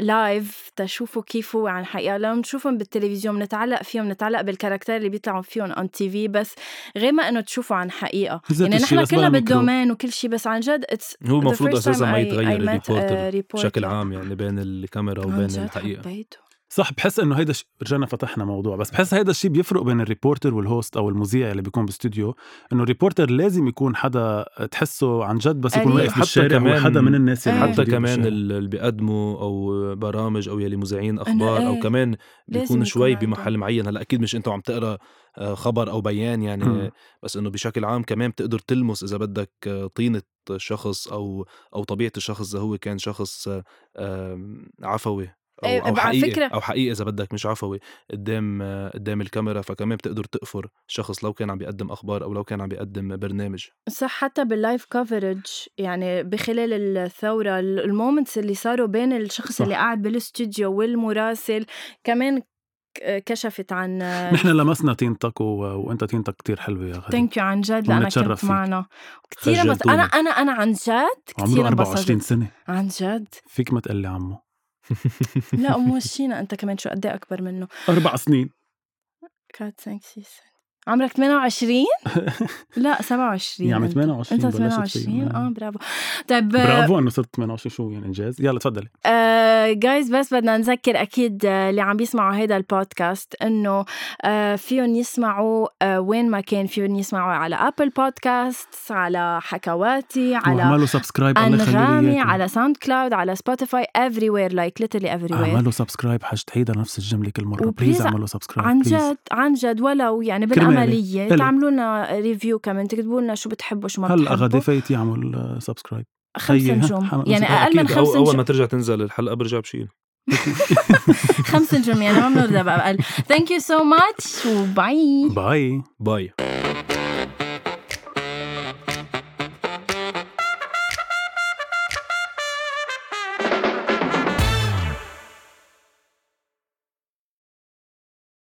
[SPEAKER 1] لايف تشوفوا كيف هو عن حقيقه لو نشوفهم بالتلفزيون بنتعلق فيهم بنتعلق بالكاركتر اللي بيطلعوا فيهم اون تي في بس غير ما انه تشوفوا عن حقيقه
[SPEAKER 2] نزلت
[SPEAKER 1] يعني
[SPEAKER 2] الشي
[SPEAKER 1] نحن
[SPEAKER 2] بس بلا
[SPEAKER 1] كلنا
[SPEAKER 2] ميكرو.
[SPEAKER 1] بالدومين وكل شيء بس عن جد اتس
[SPEAKER 3] هو المفروض اساسا ما يتغير الريبورتر بشكل عام يعني بين الكاميرا
[SPEAKER 1] عن
[SPEAKER 3] وبين
[SPEAKER 1] جد
[SPEAKER 3] الحقيقه
[SPEAKER 1] حبيته
[SPEAKER 2] صح بحس انه هيدا الش- رجعنا فتحنا موضوع بس بحس هيدا الشيء بيفرق بين الريبورتر والهوست او المذيع اللي بيكون باستوديو انه الريبورتر لازم يكون حدا تحسه عن جد بس يكون
[SPEAKER 1] قريب.
[SPEAKER 2] واقف
[SPEAKER 1] حتى
[SPEAKER 2] بالشارع
[SPEAKER 3] كمان-
[SPEAKER 2] وحدا من الناس
[SPEAKER 1] إيه.
[SPEAKER 3] حتى
[SPEAKER 2] موجودين
[SPEAKER 3] كمان
[SPEAKER 2] بالشارع.
[SPEAKER 3] ال- اللي بيقدموا او برامج او يلي مذيعين اخبار
[SPEAKER 1] إيه.
[SPEAKER 3] او كمان
[SPEAKER 1] لازم
[SPEAKER 3] بيكونوا
[SPEAKER 1] يكون
[SPEAKER 3] شوي
[SPEAKER 1] عندهم.
[SPEAKER 3] بمحل معين هلا اكيد مش انتم عم تقرا آه، خبر او بيان
[SPEAKER 2] مم.
[SPEAKER 3] يعني بس انه بشكل عام كمان بتقدر تلمس اذا بدك آه، طينه شخص او او طبيعه الشخص اذا هو كان شخص آه، آم، عفوي او
[SPEAKER 1] إيه،
[SPEAKER 3] او
[SPEAKER 1] بقى على
[SPEAKER 3] حقيقي
[SPEAKER 1] فكرة-
[SPEAKER 3] او حقيقي اذا بدك مش عفوي قدام آه، قدام الكاميرا فكمان بتقدر تقفر شخص لو كان عم بيقدم اخبار او لو كان عم بيقدم برنامج
[SPEAKER 1] صح حتى باللايف كفرج يعني بخلال الثورة ال- المومنتس اللي صاروا بين الشخص
[SPEAKER 2] صح.
[SPEAKER 1] اللي قاعد بالاستوديو والمراسل كمان ك- كشفت عن
[SPEAKER 2] نحن لمسنا تينتك و... وانت تينتك كتير حلوه يا غالي
[SPEAKER 1] ثانك يو عن جد لانك
[SPEAKER 2] ومنتشرف
[SPEAKER 1] كنت
[SPEAKER 2] فيك.
[SPEAKER 1] معنا كثير بس
[SPEAKER 3] خجلتونا.
[SPEAKER 1] انا انا انا عن جد كثير
[SPEAKER 2] عمره 24
[SPEAKER 1] انبسطت
[SPEAKER 2] سنه
[SPEAKER 1] عن جد
[SPEAKER 2] فيك ما تقلي عمه
[SPEAKER 1] لا مو شينا انت كمان شو قد إيه اكبر منه
[SPEAKER 2] اربع سنين
[SPEAKER 1] 4 5 6 سنة عمرك 28 لا 27
[SPEAKER 2] يا عم
[SPEAKER 1] أنت.
[SPEAKER 2] 28
[SPEAKER 1] انت
[SPEAKER 2] يعني بلشت فيه.
[SPEAKER 1] 28 اه برافو طيب آه،
[SPEAKER 2] برافو انه صرت 28 شو يعني انجاز يلا تفضلي
[SPEAKER 1] جايز آه، بس بدنا نذكر اكيد آه، اللي عم بيسمعوا هيدا البودكاست انه آه، فيهم يسمعوا آه، وين ما كان فيهم يسمعوا على ابل بودكاست على حكواتي على
[SPEAKER 2] واعملوا سبسكرايب الله يخلي لي
[SPEAKER 1] انغامي
[SPEAKER 2] إياكم.
[SPEAKER 1] على ساوند كلاود على سبوتيفاي افري وير لايك ليتلي افري وير
[SPEAKER 2] اعملوا سبسكرايب حج تعيدها نفس الجمله كل مره
[SPEAKER 1] وبليز
[SPEAKER 2] بليز
[SPEAKER 1] ع-
[SPEAKER 2] اعملوا سبسكرايب
[SPEAKER 1] عن
[SPEAKER 2] بليز.
[SPEAKER 1] جد عن جد ولو يعني
[SPEAKER 2] كرمالي.
[SPEAKER 1] بالعمليه
[SPEAKER 2] إلك.
[SPEAKER 1] تعملوا لنا ريفيو كمان تكتبوا لنا شو بتحبوا شو ما
[SPEAKER 2] هلا غادي
[SPEAKER 1] بتحبوا
[SPEAKER 2] فايت يعمل سبسكرايب
[SPEAKER 1] خمس
[SPEAKER 2] خيي، ها،
[SPEAKER 1] نجوم
[SPEAKER 2] حنا-
[SPEAKER 1] يعني
[SPEAKER 2] آه،
[SPEAKER 1] اقل من
[SPEAKER 3] أكيد، أو
[SPEAKER 1] خمس
[SPEAKER 3] اول
[SPEAKER 1] نجوم
[SPEAKER 3] ما ترجع تنزل الحلقه برجع بشيل
[SPEAKER 1] خمس نجوم يعني ما بنرضى بقى اقل ثانك يو سو ماتش وباي
[SPEAKER 2] باي
[SPEAKER 3] باي